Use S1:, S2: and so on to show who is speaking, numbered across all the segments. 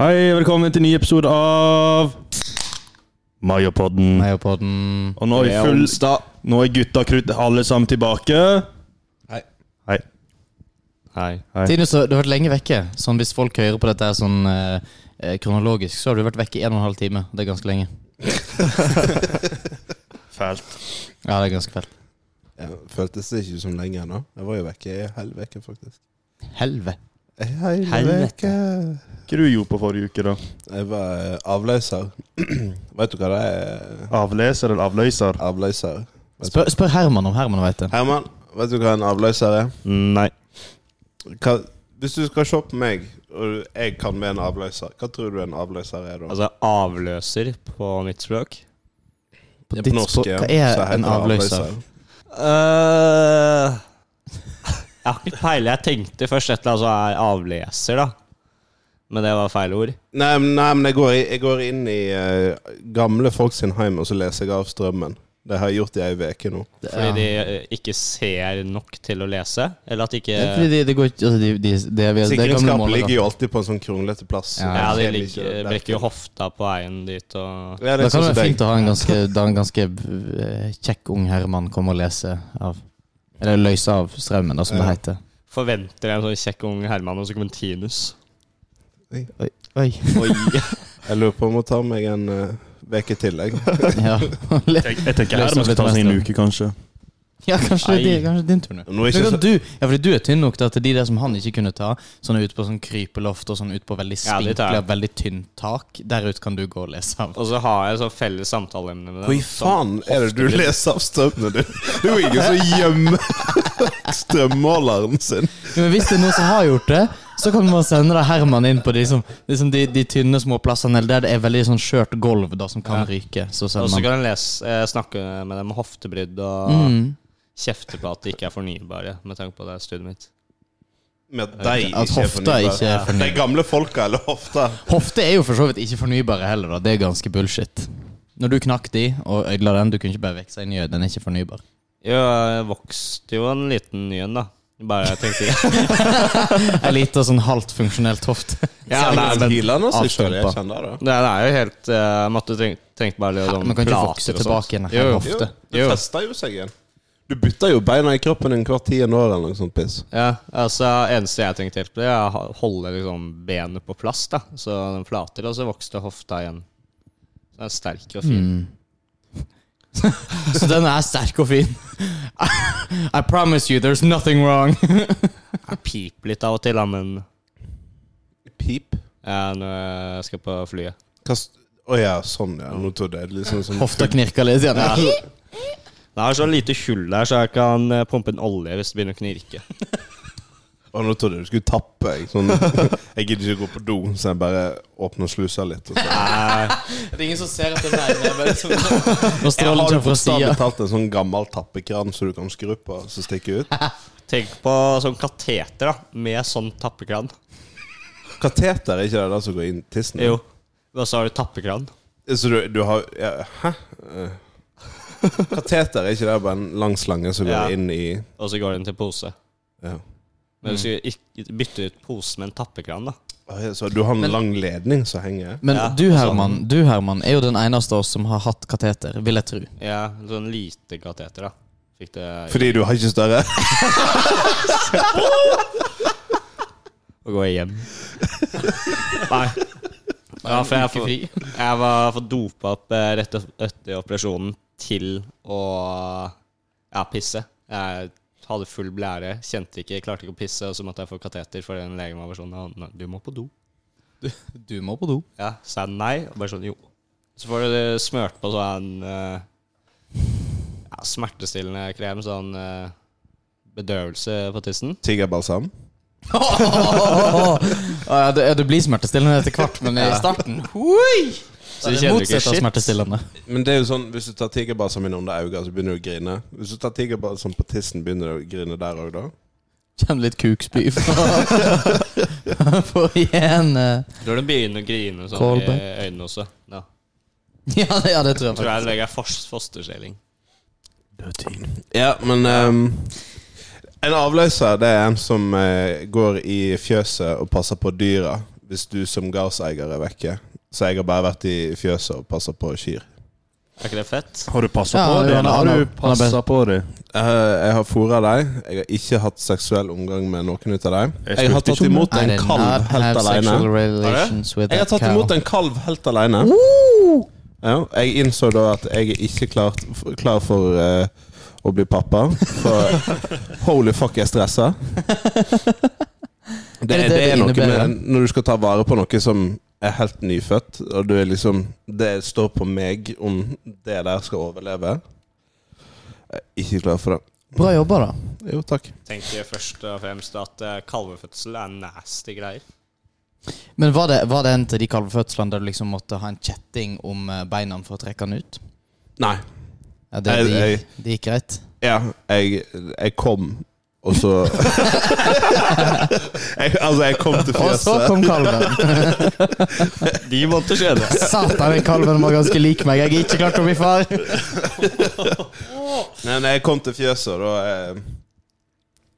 S1: Hei, velkommen til ny episode av Mayopodden.
S2: Meierpodden
S1: Og nå er, full, nå er gutta krutt alle sammen tilbake.
S2: Hei.
S1: Hei.
S3: Hei.
S1: Hei.
S2: Tine, så du har vært lenge vekke. Sånn Hvis folk hører på dette her sånn eh, eh, kronologisk, så har du vært vekke i en og en halv time. Det er ganske lenge.
S1: Fælt.
S2: Ja, det er ganske fælt.
S4: Ja, føltes det ikke som lenge ennå? Jeg var jo vekke i hele veken, faktisk.
S2: Helvete.
S4: Hele
S3: Helvete.
S4: veke.
S1: Hva du gjorde på forrige uke, da?
S4: Jeg var eh, avløser. Vet du hva det er?
S1: Avleser eller avløser?
S4: Avløser. Vet du-
S2: Spør, spør Herman om Herman vet det.
S4: Herman, vet du hva en avløser er?
S3: Nei.
S4: Hva, hvis du skal se på meg, og jeg kan være en avløser, hva tror du en avløser er da?
S3: Altså avløser på mitt språk.
S2: På
S4: Ja,
S2: ditt språk,
S4: ja,
S2: hva
S4: så
S2: er
S4: heter
S2: en
S4: det
S2: avløser?
S3: eh jeg har ikke peiling. Jeg tenkte først et eller annet som er avleser, da. Men det var feil ord.
S4: Nei, men- nei, men jeg går, i- jeg går inn i eh, gamle folk sin heim, og så leser jeg av strømmen. Det har jeg gjort i ei uke nå.
S2: Det
S3: Fordi
S2: er-
S3: de eh, ikke ser nok til å lese. Eller at de ikke
S2: Det er Fordi de, det går ikke altså, de, de, de, de, det er gamle
S4: Sikringsskap
S2: måler, da.
S4: ligger jo alltid på en sånn kronglete plass.
S2: Ja,
S3: Ja, de
S4: Det skjer
S3: ligger,
S4: ikke.
S3: brekker jo hofta på veien dit og
S2: Da kan
S4: Ja, det sånn
S2: det
S4: synes
S2: være
S4: jeg.
S2: fint å ha en ganske, da en ganske eh, kjekk ung herremann komme og lese av Eller løse av strømmen, da, som det
S4: Ja.
S2: heter.
S3: forventer en sånn kjekk ung Herman og så kommer en Tinus.
S2: Oi.
S3: Oi.
S4: Jeg lurer på om å ta meg en eh, uke til, jeg.
S2: Ja,
S1: Jeg, jeg tenker
S2: Avløser
S1: Herman skal ta seg en
S2: litt
S1: uke, kanskje.
S2: ja kanskje, det,
S3: Nei.
S2: kanskje din tur nå.
S4: Nå er
S2: Men
S4: ikke
S2: kan
S4: så,
S2: du, ja, fordi du er tynn nok til at de der som han ikke kunne ta, sånn ute på sånn krypeloft og sånn ut på veldig
S3: Ja, de
S2: spinkle,
S3: tar jeg.
S2: veldig tynt tak, der ute kan du gå og lese av.
S3: Og så har jeg sånn felles samtaleemne med dem.
S4: Hvor i faen er det du leser av strømmen din? Det er jo ingen som gjemmer strømmåleren sin.
S2: Jo, men hvis det er noen som har gjort det, så kan man sende da Herman inn på de, som, liksom de, de tynne små plassene eller der det er veldig sånn skjørt gulv da, som kan
S3: Ja.
S2: ryke. Så
S3: Og
S2: sender
S3: så
S2: man
S3: kan jeg lese, eh, snakke med dem om hoftebrydd og
S2: Mm.
S3: kjefte på at de ikke er fornybare, med tanke på det studiet mitt.
S4: Med at de
S2: At
S4: ikke er
S2: hofta ikke
S4: fornybare.
S2: er
S4: De
S2: fornybar.
S4: gamle folka, eller hofta.
S2: Hofter er jo for så vidt ikke fornybare heller, da. Det er ganske bullshit. Når du knakk de og ødela den, du kunne ikke bare vekse en ny, den er ikke fornybar.
S3: Jo, jeg vokste jo en liten ny en, da. Bare jeg tenkte
S2: Ei lita sånn halvt funksjonelt hofte.
S3: Ja, nei, men det,
S4: Hyler nå seg
S2: avstrømpa.
S4: selv, jeg kjenner det.
S3: det er jo helt eh, Matte treng, trengte bare litt sånn
S2: Man kan ikke
S3: plater
S2: vokse
S3: og sånt.
S2: tilbake igjen.
S3: Jo, jo.
S2: Hofte.
S4: Jo,
S3: Jo.
S4: det fester jo seg igjen. Du bytter jo beina i kroppen din hvert tiende år eller noe sånt piss.
S3: Ja, altså eneste jeg tenkte helt på, det er å holde liksom benet på plass, da. Så den flater, og så vokste hofta igjen. Så den er sterk og fin.
S2: Mm. Så den er sterk og fin. I promise you, there's nothing wrong.
S3: Jeg piper litt av og til, da, men
S4: Pip.
S3: ja, når jeg skal på flyet.
S4: Kast Å ja, sånn, ja. Nå trodde jeg det liksom som
S2: Hofta knirker litt igjen.
S3: Det er så lite hull der, så jeg kan eh, pumpe inn olje hvis det begynner å knirke.
S4: Og nå trodde jeg du skulle tappe. Jeg, sånn, jeg gidder ikke gå på do, så jeg bare åpner slusa litt. Og så.
S2: Det er ingen som ser at det er Nå
S4: Jeg
S2: stråler
S4: har
S2: den
S4: jo
S2: fra
S4: bokstavelig
S2: sida.
S4: talt en sånn gammel tappekran som du kan skru på og så stikke ut.
S3: Tenk på sånn kateter, da, med sånn tappekran.
S4: Kateter, er ikke det der som går inn tissen?
S3: Jo. Og så har du tappekran.
S4: Så du, du har ja, Hæ? Eh, Kateter, er ikke det bare en lang slange som går
S3: Ja.
S4: inn i
S3: Og så går den til pose.
S4: ja.
S3: Men du skal ikke bytte ut pose med en tappekran, da.
S4: Å, ja, Så du har en lang ledning som henger?
S2: Men
S3: Ja,
S2: du,
S3: sånn.
S2: Herman, du, Herman, er jo den eneste av oss som har hatt kateter, vil jeg tro.
S3: Ja, sånn lite kateter, da. Fikk det
S4: Fordi du har ikke større?
S3: å gå hjem. Nei. Ja, for jeg, for, jeg var for dopa opp eh, rett og- etter operasjonen til å ja, pisse. Jeg hadde full blære, kjente ikke, klarte ikke å pisse, og så måtte jeg få kateter, for den legen var bare sånn "Ja, nei, Du må på do.
S2: Du må på do.
S3: Ja, sa jeg nei, og bare sånn jo. Så får du det smørt på sånn eh, ja, smertestillende krem, sånn eh, bedøvelse på tissen.
S4: Tigerbalsam?
S2: ja, det, ja, det blir smertestillende etter hvert, men i starten hui! Så
S3: du
S2: det er
S3: kjenner ikke
S2: motsatt av
S3: shit.
S2: smertestillende.
S4: Men det er jo sånn, hvis du tar tigerbalsam inn under øynene, så begynner du å grine. Hvis du tar tigerbalsam på tissen, begynner du å grine der òg, da?
S2: Kjenner litt kukspy. For igjen eh,
S3: Da er det begynner å grine sånn i
S2: Callback.
S3: øynene også. Ja.
S2: ja, det, ja, det tror jeg
S3: Tror
S2: faktisk.
S3: jeg legger fos fosterstilling.
S4: Ja, men ehm, En avløser det er en som eh, går i fjøset og passer på dyra hvis du som gardseier er vekke. Så jeg har bare vært i fjøset og passa på kyr.
S3: Er ikke det fett?
S1: Har du passa
S2: Ja,
S1: på det?
S2: han
S1: Eller
S2: har-
S1: har
S2: han
S1: du
S2: har- han
S1: passa
S2: har-
S1: på det?
S4: Eh, jeg har fôra dem. Jeg har ikke hatt seksuell omgang med noen ut av dem.
S1: Jeg
S4: Jeg har
S1: spurte
S4: tatt
S1: ikke om
S4: imot
S2: I
S4: en
S2: did not
S4: kalv
S2: have
S4: helt alene.
S2: sexual relations with
S4: Jeg har
S2: that
S4: tatt
S2: cow.
S4: imot en kalv helt alene. Ja, jeg innså da at jeg er ikke klar, klar for eh, å bli pappa. For holy fuck, jeg stressa. Det,
S2: Er det det
S4: det,
S2: det
S4: er noe
S2: innebærer?
S4: med når du skal ta vare på noe som er helt nyfødt, og du er liksom Det står på meg om det der skal overleve. Jeg er ikke klar for det.
S2: Bra jobba, da.
S4: Jo, takk.
S3: Tenker først og fremst at eh, kalvefødsel er nasty greier.
S2: Men var det, var det en til de kalvefødslene der du liksom måtte ha en kjetting om eh, beina for å trekke den ut?
S4: Nei.
S2: Ja, det, det,
S4: Jeg-
S2: gikk, det gikk greit?
S4: Ja, jeg, jeg kom, og så jeg, Altså, jeg kom til
S2: Og så
S4: fjøset.
S2: kom kalven.
S3: De måtte skje det.
S2: Satan, den kalven var ganske lik meg. Jeg er ikke klart å bli far.
S4: Nei, når jeg kom til fjøset, da eh,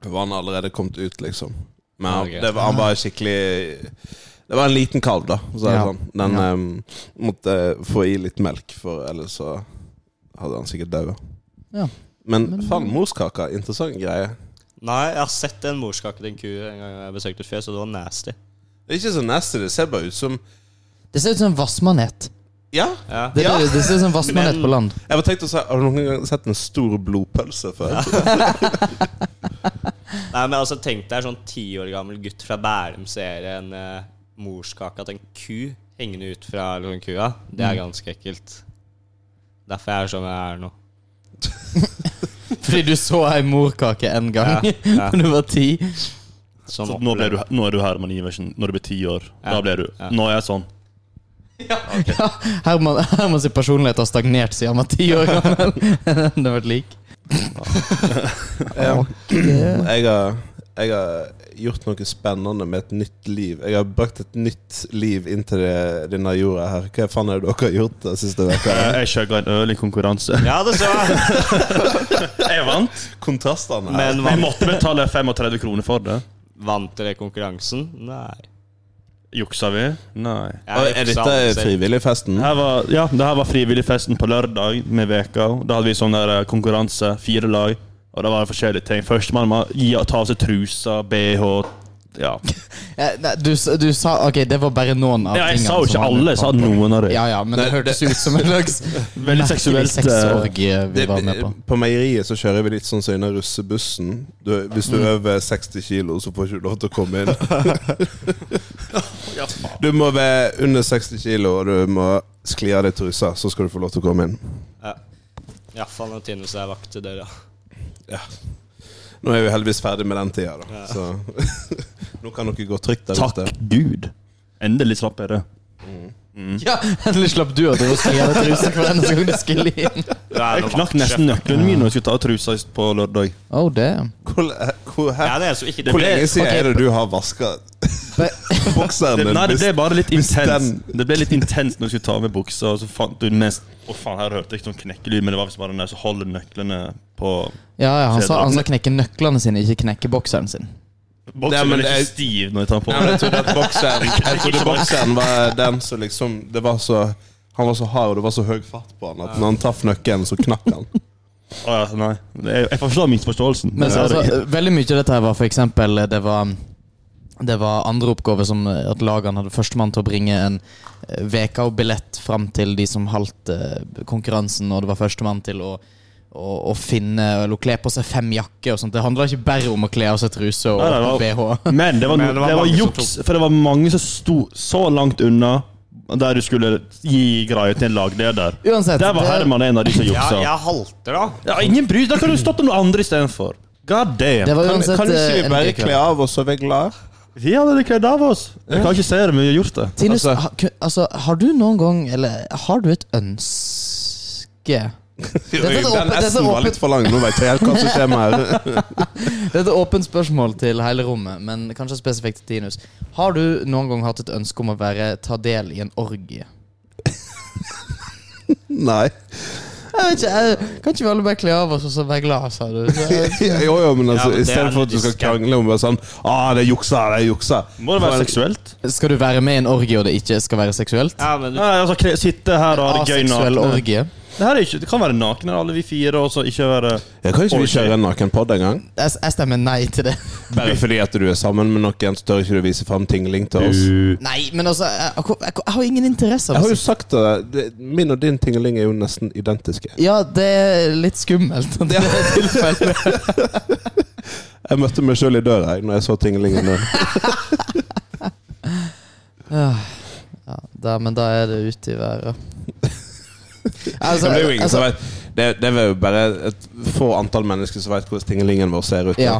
S4: var han allerede kommet ut, liksom. Men han,
S3: Ok.
S4: det var, han var skikkelig Det var en liten kalv, da. Så er det
S2: Ja.
S4: sånn. Den
S2: Ja.
S4: em, måtte få i litt melk, for ellers så hadde han sikkert daua.
S2: Ja.
S4: Men, faen, morskaka. Interessant greie.
S3: Nei, jeg har sett en morskake til en ku en gang jeg besøkte et fjøs, og det var nasty.
S4: Det er ikke så nasty. Det ser bare ut som
S2: Det ser ut som en vassmanet.
S4: Ja!
S3: Ja.
S2: Det,
S4: Ja.
S2: det, det ser ut som en vassmanet
S3: Men-
S2: på land.
S4: Jeg var tenkt å si Har du noen gang sett en stor blodpølse før?
S3: Nei, men altså, tenk deg en sånn ti år gammel gutt fra Bærum ser en uh, morskake til en ku hengende ut fra liksom, kua. Det er ganske ekkelt. Derfor jeg er sånn jeg er nå.
S2: Fordi du så ei morkake en gang
S3: Ja, ja.
S2: da du var ti.
S3: Sånn
S1: Så nå, ble du,
S3: opplever-
S1: nå er du Herman Iversen når du blir ti år.
S3: Ja.
S1: Da ble du
S3: Ja.
S1: Nå er jeg sånn.
S2: Ja, Herman, Herman sin personlighet har stagnert siden han var ti år gammel. Den har vært lik.
S4: Ja.
S2: det-
S4: Jeg har, jeg har gjort noe spennende med et nytt liv. Jeg har brakt et nytt liv inn til det- denne jorda her. Hva faen er det dere har gjort den siste uka?
S1: Eh, Jeg chugga en øl i konkurranse.
S3: Ja, det så jeg.
S1: Jeg vant.
S4: Kontrastene her.
S3: Men
S1: Jeg
S3: vant,
S1: måtte betale 35 kroner for det.
S3: vant dere konkurransen? Nei.
S1: Juksa vi? Nei.
S3: Jeg
S4: Og er
S3: juksa aldri
S4: dette
S3: selv.
S4: frivilligfesten?
S1: Her var, ja, det her var frivilligfesten på lørdag med veka. Da hadde vi sånn der eh, konkurranse, fire lag, og det var forskjellige ting. Førstemann må gi og ta av seg trusa, bh Ja,
S2: Eh, nei, Du, s- du sa Ok, det var bare noen av
S1: ja jeg
S2: tingene
S1: sa jo
S2: som
S1: ikke
S2: altså, var med
S1: alle, jeg
S2: på-
S1: sa noen av dem.
S2: Ja, ja, men det hørtes ut som en slags
S1: Veldig
S2: merkelig
S1: seksuelt, eh,
S2: sexorgie vi
S4: Det,
S2: var med på.
S4: på meieriet så kjører vi litt sånn som innen russebussen. Du, hvis du er over 60 kilo, så får du ikke lov til å komme inn. Du må være under 60 kilo, og du må skli av deg trusa, så skal du få lov til å komme inn.
S3: Ja. Ja, faen, den tynneste jeg vakt til døra.
S4: Nå er vi heldigvis ferdig med den tida, da. Så nå kan dere gå trygt der
S1: Takk Gud. Endelig slapp jeg det.
S2: Ja, Endelig slapp du å drive og skrive av deg trusa for denne gangen du skulle inn.
S1: Jeg knakk nesten nøklene mine når jeg skulle ta av trusa på lørdag.
S2: Oh, damn.
S4: Hvor, hvor,
S3: Ja,
S4: her,
S3: det er så ikke
S4: hvor lenge siden
S2: ok.
S4: er det du har vaska
S2: Be-
S4: bokseren
S1: Det,
S4: din?
S1: nei, det ble bare litt
S4: hvis
S1: intenst. Det ble litt intenst når jeg skulle ta av meg buksa, og så fant du mest Å, faen, her hørte jeg ikke sånn knekkelyd, men det var visst bare den der som holder nøklene på
S2: Ja, ja, han sa han sa knekke nøklene sine, ikke knekke bokseren sin.
S4: Ja,
S1: Boksen
S4: men
S1: blir ikke
S4: jeg-
S1: stiv når jeg tar den på.
S4: Nei, men jeg trodde at bokseren Jeg trodde bokseren var den som liksom Det var så Han var så hard, og det var så høy fart på han at når han traff nøkkelen, så knakk han.
S1: Å ja, nei. Jeg, jeg forstår misforståelsen.
S2: Men
S1: Det er det.
S2: altså, veldig mye av dette her var for eksempel eh, Det var, det var andre oppgaver som eh, at lagene hadde førstemann til å bringe en veka og billett fram til de som halvt eh, konkurransen, og det var førstemann til å å, å finne Eller å kle på seg fem jakker og sånt. Det handla ikke bare om å kle av seg truse og
S1: Nei, nei, det
S2: bh.
S1: men det var,
S3: Men det
S1: det
S3: var
S1: var,
S3: mange som
S1: juks, for det var mange som sto så langt unna der du skulle gi greier til en lagleder.
S2: Uansett,
S1: Der var
S2: det-
S1: Herman en av de som
S3: Ja,
S1: juksa. Ja,
S3: jeg halter, da.
S1: ingen bryr Da kan du stått om noe andre istedenfor. God damn.
S2: Det var
S4: Kan,
S2: uansett
S4: kan ikke
S2: eh,
S4: vi
S2: en
S4: bare
S2: gøy kveld.
S4: kle av oss og være glade?
S1: Vi hadde det kledd av oss. Jeg kan ikke se det, men vi har gjort det.
S2: Tinus,
S4: Altså-
S2: ha, ku- altså, har du noen gang Eller har du et ønske Dette er åpent-
S4: Den
S2: dette er
S4: S-en var
S2: åpent.
S4: litt for lang. Nå vet jeg helt hva som skjer med her.
S2: Dette er åpent spørsmål til hele rommet, men kanskje spesifikt til Tinus. Har du noen gang hatt et ønske om å være ta del i en orgie?
S4: Nei.
S2: Jeg vet ikke, jeg, kan ikke vi alle bare kle av oss og så være glad, sa du? Så,
S4: jo, jo, men altså,
S3: Ja, men det
S4: i
S3: er
S4: stedet for at du skal
S3: diskant.
S4: krangle om bare sånn ah, det er juksa, det er juksa.
S1: Må det være seksuelt?
S2: Skal du være med i en orgie og det ikke skal være seksuelt?
S3: Ja, men
S1: Nei, altså, kre- sitte her og ha det gøy
S2: Aseksuell
S1: nakne.
S2: orgie?
S1: Det, her er ikke, det kan være nakne, alle vi fire, og så ikke være
S4: Ja, kan ikke vi
S1: Orgie.
S4: kjøre en nakenpod en gang?
S2: Jeg, jeg stemmer nei til det.
S4: Bare fordi at du er sammen med noen, så tør ikke du vise fram tingling til oss.
S2: Nei, men altså, jeg, jeg, jeg, jeg har ingen interesse
S4: Jeg
S2: av
S4: har jo
S2: det.
S4: sagt til deg, det- min og din tingeling er jo nesten identiske.
S2: Ja, det er litt skummelt. at Det er tilfellet.
S4: Jeg møtte meg sjøl i døra jeg, når jeg så tingelingen. der.
S2: Ja, da, men da er det ute i været. Altså,
S4: Men det er jo ingen
S2: altså,
S4: som vet det, det er jo bare et få antall mennesker som vet hvordan tingelingen vår ser ut. nå.
S2: ja.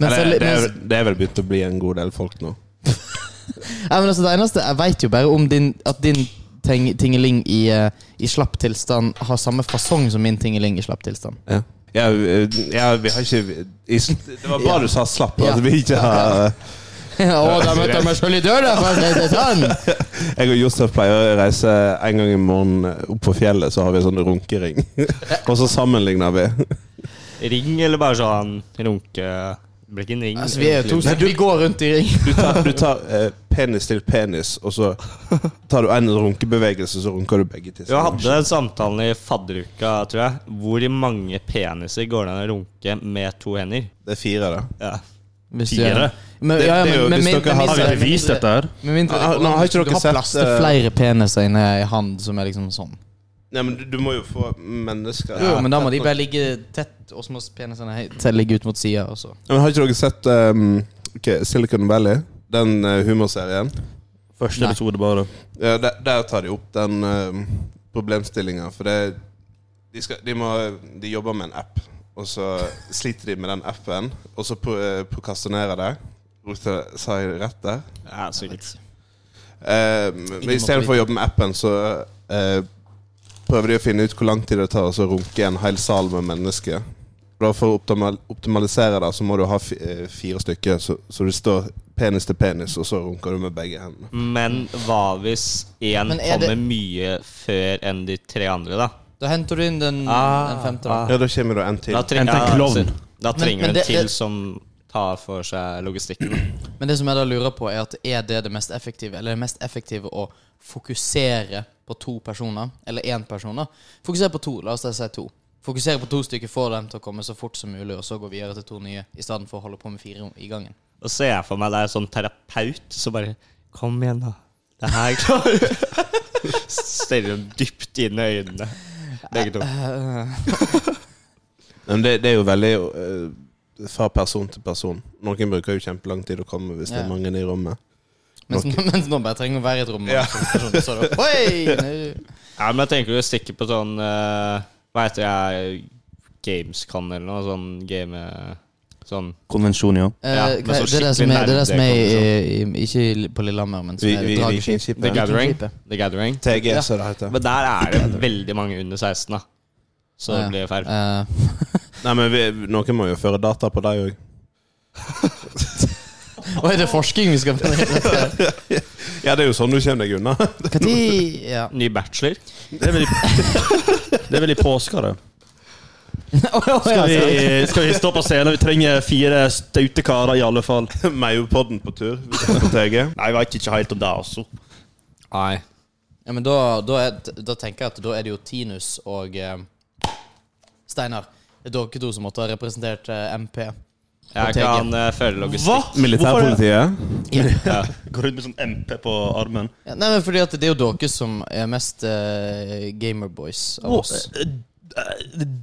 S2: Men, så,
S4: Eller, det, er,
S2: men,
S4: det er vel begynt å bli en god del folk nå.
S2: ja, men altså, det eneste Jeg veit jo bare om din, at din ting, tingeling i, eh, i slapp tilstand har samme fasong som min tingeling i slapp tilstand.
S4: Ja, ja, vi- ja vi har ikke i, Det var bra du sa slapp.
S2: Ja.
S4: At vi ikke har
S2: Å, da møtte jeg meg sjøl i døra! for det er sånn.
S4: Jeg og Josef pleier å reise en gang i måneden opp på fjellet, så har vi en sånn runkering. Og så sammenligner vi.
S3: ring eller bare sånn runke Det blir ikke en ring.
S2: Altså, vi er jo to
S3: egentlig.
S2: stykker. Vi går rundt i ring.
S4: Du tar, du tar eh, penis til penis, og så tar du en runkebevegelse, så runker du begge
S3: Vi hadde
S4: tissene.
S3: den samtalen i fadderuka, tror jeg. Hvor mange peniser går det an å runke med to hender?
S4: Det er fire, da.
S3: Ja.
S2: Hvis du-
S1: Fire?
S2: Men,
S4: Det-
S2: ja, ja,
S4: det er jo-
S2: men, men,
S4: hvis
S2: men,
S4: dere har-
S1: Har vi
S2: mindre-
S1: bevist
S2: mindre-
S1: dette her?
S2: Med mindre
S4: Ah, nå, har ikke dere
S2: du har
S4: sett,
S2: plass til
S4: eh,
S2: flere peniser inne i hand som er liksom sånn.
S4: Nei, men du, du må jo få mennesker
S2: Jo, men da må de bare ligge tett, og så må penisene hei- tett ligge ut mot sida.
S4: Men Har ikke dere sett ehm, ok, Silicon Valley? Den eh, humorserien?
S1: Første
S2: Nei.
S1: episode, bare.
S4: Ja, der, der tar de opp den uh, problemstillinga, for det de, skal, de, må, de jobber med en app, og så sliter de med den appen, og så pro- eh, prokrastinerer de. Rote, sa jeg det rett der?
S3: ja, sikkert.
S4: Eh, men i stedet for å jobbe med appen, så eh, prøver de å finne ut hvor lang tid det tar å så runke en hel sal med mennesker. Da For å optimal optimalisere det, så må du ha fi- eh, fire stykker, så, så du står penis til penis, og så runker du med begge hendene.
S3: Men hva hvis én
S2: Men er det-
S3: kommer mye før enn de tre andre, da?
S2: Da henter du inn den,
S3: Ah,
S2: den femte.
S3: ah.
S2: da.
S4: Ja, da kommer det en til.
S3: Da, tre-
S1: Hent en
S3: ja,
S1: klovn.
S3: så- da
S2: Men- men
S3: trenger du
S2: det-
S3: en til
S2: det-
S3: som tar for seg logistikken.
S2: Men det som jeg da lurer på, er at er det det mest effektive? Eller er det mest effektive å fokusere på to personer? Eller én person, da? Fokusere på to. La oss da si to. Fokusere på to stykker, få dem til å komme så fort som mulig, og så gå videre til to nye, i stedet for å holde på med fire i gangen.
S3: Og så ser jeg for meg det er en sånn terapeut som bare Kom igjen, da. Det her klarer du. Stirrer dem dypt inn i øynene. Begge to.
S4: Nei, Men det, det er jo veldig eh, fra person til person. Noen bruker jo kjempelang tid å komme hvis det
S2: Ja.
S4: er mange i rommet.
S2: Mens, mens nå bare trenger å være i et rom.
S4: Ja.
S2: og Så, så er det, «Oi, nei».
S3: Ja, men jeg tenker jo å stikke på sånn eh, Hva heter det? Gamescon eller noe sånn game... Sånn
S1: Konvensjon, ja.
S2: Eh,
S3: Ja,
S2: hva-
S3: men
S2: det,
S3: så
S2: er det som er, det er det som er i, i, i- ikke på Lillehammer, men som
S4: Vi,
S2: er
S4: vi,
S2: dragskip.
S4: vikingskipet.
S3: The Gathering.
S2: Vikingskipet.
S3: The Gathering.
S4: TG,
S2: Ja.
S4: som det heter.
S3: Men der er det veldig mange under 16, da. Så det
S2: Ja.
S3: blir feil.
S2: Eh,
S4: Nei, men vi, noen må jo føre data på deg òg.
S2: Oi, det er forskning vi skal Hva
S4: Ja, det er jo sånn du kommer deg unna.
S2: tid ja.
S3: Ny bachelor.
S1: Det er vel i, det er vel i påska, det.
S2: Oi, oi,
S1: Skal
S2: altså.
S1: vi, skal vi stå på scenen? Vi trenger fire staute karer, i alle fall.
S4: Maupodden på tur vi skal på TG.
S1: Nei, jeg veit ikke helt om det, altså.
S3: Nei.
S2: Ja, men da, da, er, da tenker jeg at da er det jo Tinus og eh, Steinar. Det er dere to som måtte ha representert eh, MP.
S3: Jeg
S2: TG.
S3: kan eh, føle logistikk.
S4: Militærpolitiet?
S1: Går rundt med sånn MP på armen.
S2: Ja, nei, men fordi at det er jo dere som er mest eh, gamerboys av oss.
S1: Å, eh, eh,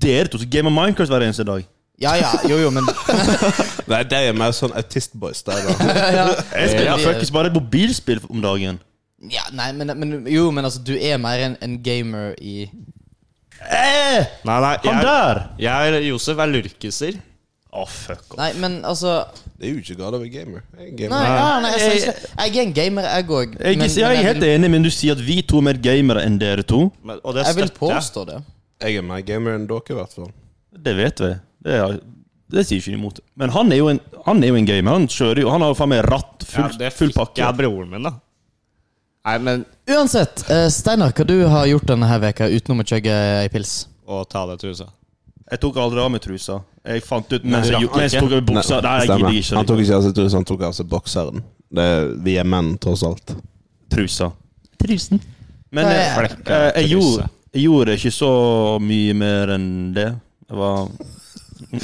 S1: Dere to som gamer Minecraft hver eneste dag.
S2: Ja ja, jo jo, men
S4: Nei, de er mer sånn autistboys der, da.
S2: ja.
S1: Jeg spiller
S2: Eh,
S1: faktisk bare mobilspill om dagen.
S2: Ja, nei, men, men Jo, men altså, du er mer en, en gamer i
S1: Eh,
S3: Nei, nei,
S1: han
S3: jeg,
S1: der!
S3: jeg Josef er lurkiser.
S1: Å, fuck off.
S2: Nei, men altså
S4: Det er jo ikke galt å være gamer. Jeg er
S2: Nei,
S4: gamer.
S2: ja, nei jeg, sier ikke det. jeg er en gamer, jeg òg.
S1: Jeg, jeg er helt enig, men du sier at vi to er mer gamere enn dere to.
S3: Men, og det
S2: jeg vil
S3: støtter jeg.
S2: påstå det.
S4: Jeg er mer gamer enn dere, i hvert fall.
S1: Det vet vi. Det, er, det sier ikke de imot. Men han er jo en, han er jo en gamer. Han kjører jo Han har jo faen meg ratt, full,
S3: ja, det
S1: full
S3: fikk
S1: pakke.
S3: jeg broren min, da. Nei, men
S2: Uansett, eh, Steinar, hva du har gjort denne her veka utenom å chugge ei pils?
S3: Å, og ta av deg trusa.
S1: Jeg tok aldri av meg trusa. Jeg fant ut
S4: Nei,
S1: mens jeg,
S4: rakk
S1: mens jeg tok
S4: ikke.
S1: av meg buksa. Nei, jeg
S4: stemmer.
S1: gidder ikke.
S4: Han tok ikke av seg trusa, han tok av seg bokseren. Det, vi er menn, tross alt.
S1: trusa.
S2: Trusen.
S1: Men
S2: Nei,
S1: jeg, jeg,
S3: flekka truse.
S1: gjorde, jeg gjorde ikke så mye mer enn det. Det var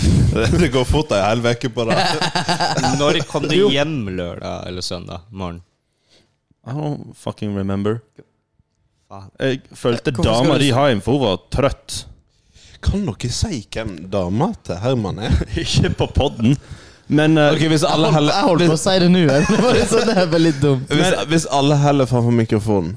S4: det går fort ei hel uke på det.
S3: Når kom du hjem lørdag eller søndag morgen?
S1: I don't fucking remember.
S3: Faen.
S1: Jeg følte
S2: Hvorfor skal
S1: dama
S2: du-
S1: di hjem, for hun var trøtt.
S4: Kan dere si hvem dama til Herman er?
S1: ikke på podden. Men eh,
S4: Ok, hvis alle heller
S2: Jeg holdt på å si det nå. jeg. Det var litt sånn, det er veldig dumt.
S4: hvis, hvis alle heller framfor mikrofonen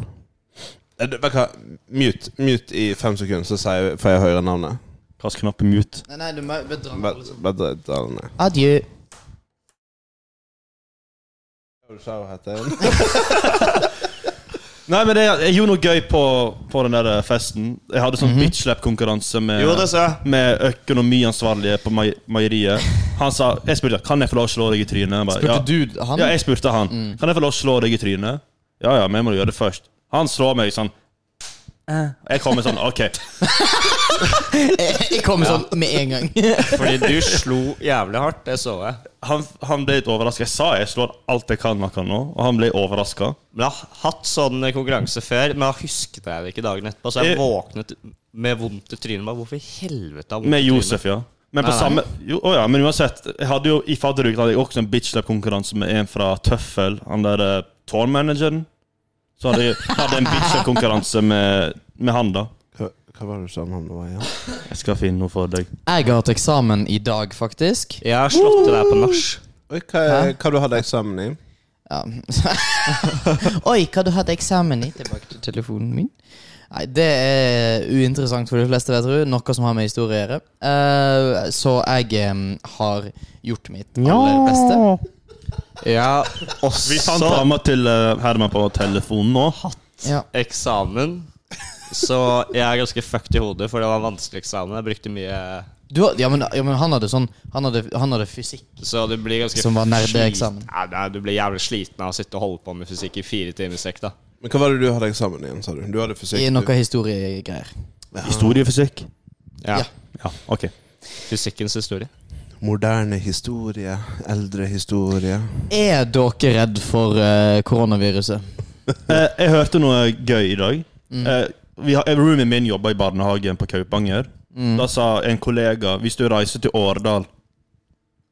S4: Eh, du, vet du hva? Mute, mute i fem sekunder, så sier jeg, får jeg høre navnet.
S1: Kast knappen mute.
S2: Nei, nei, du må bedra
S4: Vent, vent, vent, da, nei.
S2: Adjø.
S4: Hva sa hun heter?
S1: Nei, men det, jeg gjorde noe gøy på, på den der eh, festen. Jeg hadde
S2: Mhm.
S1: sånn bitchlap-konkurranse med
S4: Jo, det sa jeg.
S1: med økonomiansvarlige på mei- meieriet. Han sa Jeg spurte kan jeg få lov å slå deg i trynet. Jeg bare, ja.
S2: Spurte du han? Mm.
S1: Ja, jeg spurte han. Kan jeg få lov å slå deg i trynet? Ja, ja, men jeg må gjøre det først. Han slår meg sånn.
S2: Eh.
S1: Jeg kommer sånn, ok.
S2: Jeg kom sånn med en gang.
S3: Fordi du slo jævlig hardt, det så jeg.
S1: Han, han ble litt overraska. Jeg sa jeg slår alt jeg kan akkurat nå, og han ble overraska.
S3: Men jeg har hatt sånn konkurranse før, men jeg husket jeg det ikke dagen etterpå. Så jeg
S1: Eh.
S3: våknet med vondt i trynet. Bare, Hvorfor i helvete har jeg vondt i
S1: Med
S3: trynet?
S1: Josef, ja. Men på
S3: Nei, nei.
S1: samme jo, å ja, men uansett, jeg hadde jo i fadderuken hadde jeg også en bitchlap-konkurranse med en fra Tøffel, han der eh, tårnmanageren. Så hadde jeg hadde en bitchlap-konkurranse med, med han, da.
S4: Hva, hva var det du sa navnet var igjen?
S1: Jeg skal finne noe for deg.
S2: Jeg har hatt eksamen i dag, faktisk.
S3: Jeg har slått til deg på nach.
S4: Oi, Hva,
S2: Hæ?
S4: hva du hadde eksamen i?
S2: Ja. Oi, hva du hadde eksamen i? Tilbake til telefonen min. Nei, det er uinteressant for de fleste, vet du. Noe som har med historie å gjøre. Eh, så jeg eh, har gjort mitt aller beste.
S3: Ja,
S1: Vi fant
S3: også
S1: dama til eh, Herman på telefonen nå.
S2: Ja.
S3: eksamen. Så jeg er ganske fucked i hodet, for det var en vanskelig eksamen. Jeg brukte mye
S2: Du, har- ja, men, ja, men han hadde sånn Han hadde, han hadde fysikk.
S3: Så du blir ganske
S2: Som var nerdeeksamen.
S3: slit- Nei, nei, du blir jævlig sliten av å sitte og holde på med fysikk i fire timer i strekk, da.
S4: Men Hva var det du hadde eksamen i igjen, sa du? Du hadde fysikk.
S2: I
S4: du-
S2: noe historiegreier.
S1: Historiefysikk.
S3: Ja.
S2: Ja.
S1: Ja, ok.
S3: Fysikkens historie.
S4: Moderne historie, eldre historie.
S2: Er dere redd for eh, koronaviruset?
S1: Eh, jeg hørte noe gøy i dag.
S3: Mm.
S1: Eh, vi har, roomien min jobber i barnehagen på Kaupanger.
S3: Mm.
S1: Da sa en kollega hvis du reiser til Årdal,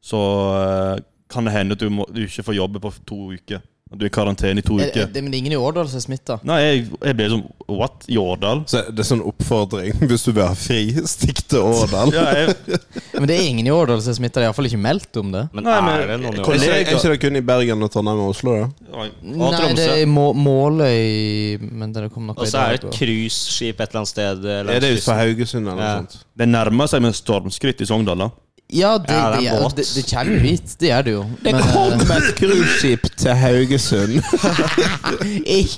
S1: så eh, kan det hende at du, må, du ikke får jobbe på to uker. At du er i karantene i to
S2: Er, er,
S1: uker.
S2: det, Eh, men det er ingen i Årdal som er smitta.
S1: Nei, jeg, jeg ble sånn What? I Årdal?
S4: Så det er sånn oppfordring. Hvis du vil ha fri, stikk til Årdal.
S1: Ja, jeg,
S2: Men det er ingen i Årdal som er smitta. De har iallfall ikke meldt om det.
S3: Men,
S1: Nei, men-
S3: er det noen i
S1: Kol-
S4: Er
S3: år?
S4: ikke, er ikke det kun i Bergen og Trondheim og Oslo? da?
S1: og
S2: Nei, det
S1: Tromsø.
S2: er Må Måløy Men det kom noe
S3: Og så er
S2: i dag.
S3: det et
S2: og-
S3: cruiseskip et eller annet sted. eh,
S4: Er det
S3: langs kysten.
S4: utenfor Haugesund eller noe
S3: Ja.
S4: sånt?
S1: Det nærmer seg med stormskritt i Sogndal. da
S2: Ja, det,
S3: Ja, det er
S2: det, er,
S3: båt.
S2: det, det kommer jo hit. Det gjør det jo. Men, eh,
S4: et cruiseskip til Haugesund.
S2: i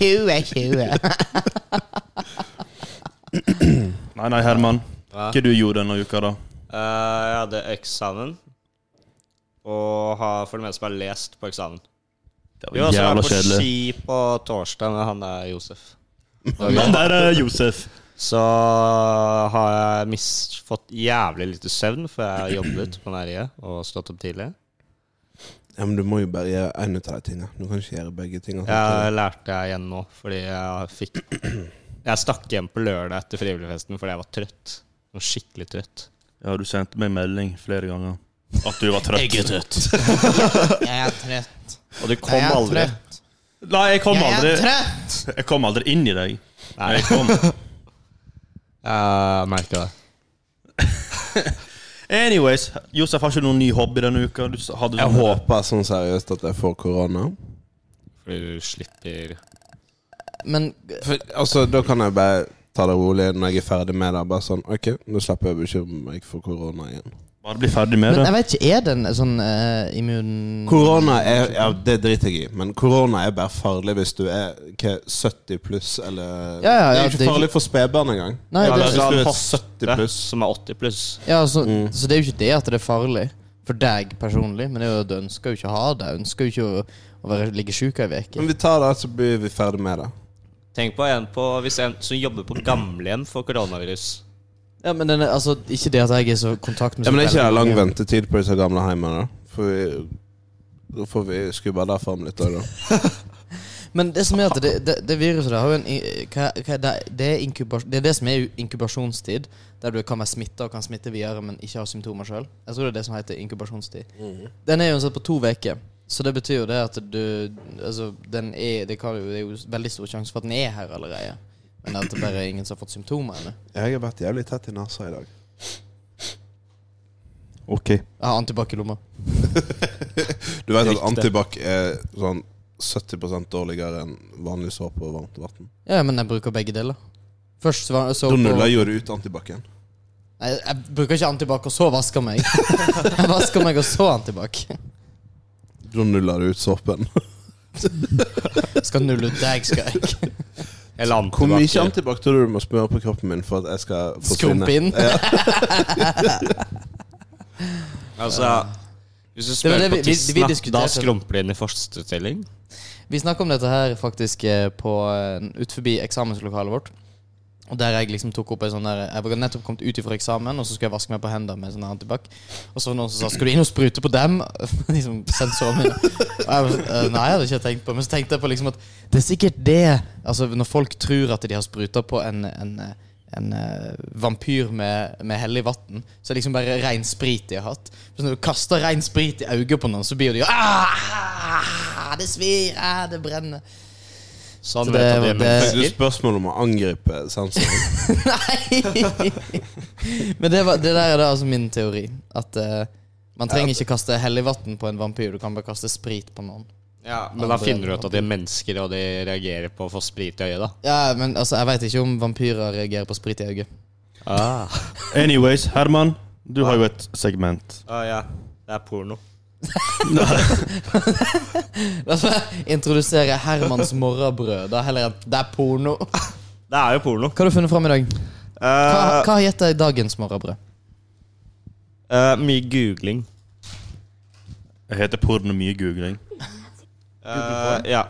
S2: 2020.
S1: Nei, nei, Herman.
S3: Ja.
S1: Hva du gjorde denne uka, da?
S3: Eh, jeg hadde eksamen, og har for det meste bare lest på eksamen.
S1: Det
S3: Vi var også
S1: jævla
S3: på
S1: kjedelig.
S3: ski på torsdag med han der Josef.
S1: Men der er Josef.
S3: Så har jeg mis- fått jævlig lite søvn, for jeg har jobbet på næriet og stått opp tidlig.
S4: Ja, men du må jo bare gjøre en av de tingene. Du kan ikke gjøre begge tingene. samtidig.
S3: Jeg lærte jeg igjen nå, fordi jeg fikk Jeg stakk hjem på lørdag etter frivilligfesten fordi jeg var trøtt. Jeg var skikkelig trøtt.
S1: Ja, du sendte meg melding flere ganger. At du var trøtt.
S2: Jeg er trøtt. Jeg er trøtt.
S3: Og du kom
S2: jeg er
S3: aldri.
S2: Trøtt.
S1: Nei, jeg kom
S2: Jeg
S1: aldri
S2: er trøtt.
S1: Jeg kom aldri inn i deg.
S3: Nei.
S1: Jeg, kom.
S3: Jeg merka det.
S1: Anyways, Josef har ikke noen ny hobby denne uka. Du hadde
S4: Jeg
S1: sånn-
S4: håper sånn seriøst at jeg får korona.
S3: Fordi du slipper
S2: Men
S4: For, altså, Da kan jeg bare ta det rolig når jeg er ferdig med det. Bare sånn OK, nå slipper jeg å bekymre meg for korona igjen.
S1: Bare bli ferdig med
S2: Men
S1: det.
S2: jeg vet ikke, er den sånn eh, immun...
S4: Mm. Korona er Ja, det driter jeg i, men korona er bare farlig hvis du er hva, 70 pluss eller
S2: Ja, ja, ja,
S4: Det er
S2: det er
S4: ikke
S2: ikke-
S4: farlig for spedbarn engang.
S2: Nei,
S3: Ja,
S2: det,
S3: men
S4: Hvis
S3: han
S4: du er
S3: hoster.
S4: 70 pluss
S3: som er 80 pluss.
S2: ja så,
S4: Mm.
S2: så det er jo ikke det at det er farlig for deg personlig, men det er jo at du ønsker jo ikke å ha det. Du ønsker jo ikke å, å være, ligge sjuk ei uke.
S4: Men vi tar det, så blir vi ferdig med det.
S3: Tenk på en på hvis en som jobber på gamlehjem får koronavirus.
S2: Ja, men den er, altså, ikke det at jeg er så i kontakt med
S4: Ja,
S2: så
S4: men det er ikke det
S2: veldig
S4: lang
S2: mange.
S4: ventetid på disse gamle heimene? Da får vi, da får vi skubba det fram litt. Da.
S2: Men det som er at det, det, det viruset der har jo en i- hva, hva er det, det, er inkubas, det er det som er inkubasjonstid, der du kan være smitta og kan smitte videre, men ikke har symptomer sjøl. Jeg tror det er det som heter inkubasjonstid.
S4: Mm.
S2: Den er jo satt på to uker, så det betyr jo det at du Altså, den er det, kan, jo- det er jo veldig stor sjanse for at den er her allerede, men at det bare er ingen som har fått symptomer ennå.
S4: Jeg har vært jævlig tett i nesa i dag.
S1: Ok.
S2: Jeg har antibac i lomma.
S4: Du vet at
S3: Riktig.
S4: antibac er sånn 70 dårligere enn vanlig såpe og varmt vann.
S2: Ja, men jeg bruker begge deler. Først så var så
S4: Da
S2: på-
S4: nuller jeg jo ut antibac-en.
S2: Nei, jeg bruker ikke antibac, og så vasker meg. Jeg vasker meg, og så antibac.
S4: Da nuller du ut såpen.
S2: Skal nulle ut deg, skal jeg.
S3: Eller
S4: Hvor mye
S3: antibac.
S4: antibac tror du du må smøre på kroppen min for at jeg skal forsvinne?
S2: Skrumpe inn. Det
S3: Altså, hvis du
S2: var
S3: spør
S2: det
S3: på
S2: vi- vi-
S3: tissen,
S2: vi
S3: da, da
S2: diskuterte.
S3: skrumper det inn i første stilling.
S2: Vi snakka om dette her faktisk eh, på, eh, ut forbi eksamenslokalet vårt. Og der jeg liksom tok opp en sånn der Jeg var nettopp kommet ut ifra eksamen, og så skulle jeg vaske meg på hendene med sånn her antibac. Og så var det noen som sa 'Skal du inn og sprute på dem?' liksom sensoren min. Og jeg, var- eh, nei, jeg hadde ikke tenkt på det. Men så tenkte jeg på liksom at det er sikkert det Altså Når folk tror at de har spruta på en, en, eh, en eh, vampyr med, med hellig vann, så er det liksom bare rein sprit de har hatt. Så når du kaster rein sprit i øyet på noen, så blir de jo «Ah, Det svir! Ah, det brenner!
S3: Sånn
S2: Så
S3: vet
S2: det-
S3: jeg at de er
S2: det-
S4: Fikk du
S3: mennesker.
S4: spørsmål om å angripe sensoren?
S2: Nei! Men det, var, det der er da altså min teori. At eh, man trenger ikke kaste helligvann på en vampyr. Du kan bare kaste sprit på noen.
S3: Ja, men da finner du ut at de er mennesker, og de reagerer på å få sprit i øyet, da.
S2: Ja, men altså, Jeg veit ikke om vampyrer reagerer på sprit i øyet.
S3: Ah.
S1: Anyways, Herman, du har jo et segment.
S3: Ah, ja. Det er porno.
S2: La oss introdusere Hermans morrabrød. Da heller enn det er porno. Hva
S3: Det er jo porno.
S2: har du funnet fram i dag? Hva, hva har gitt deg dagens morrabrød?
S3: Eh, mye googling.
S1: Jeg heter Porno Mye Googling.
S3: Eh, ja.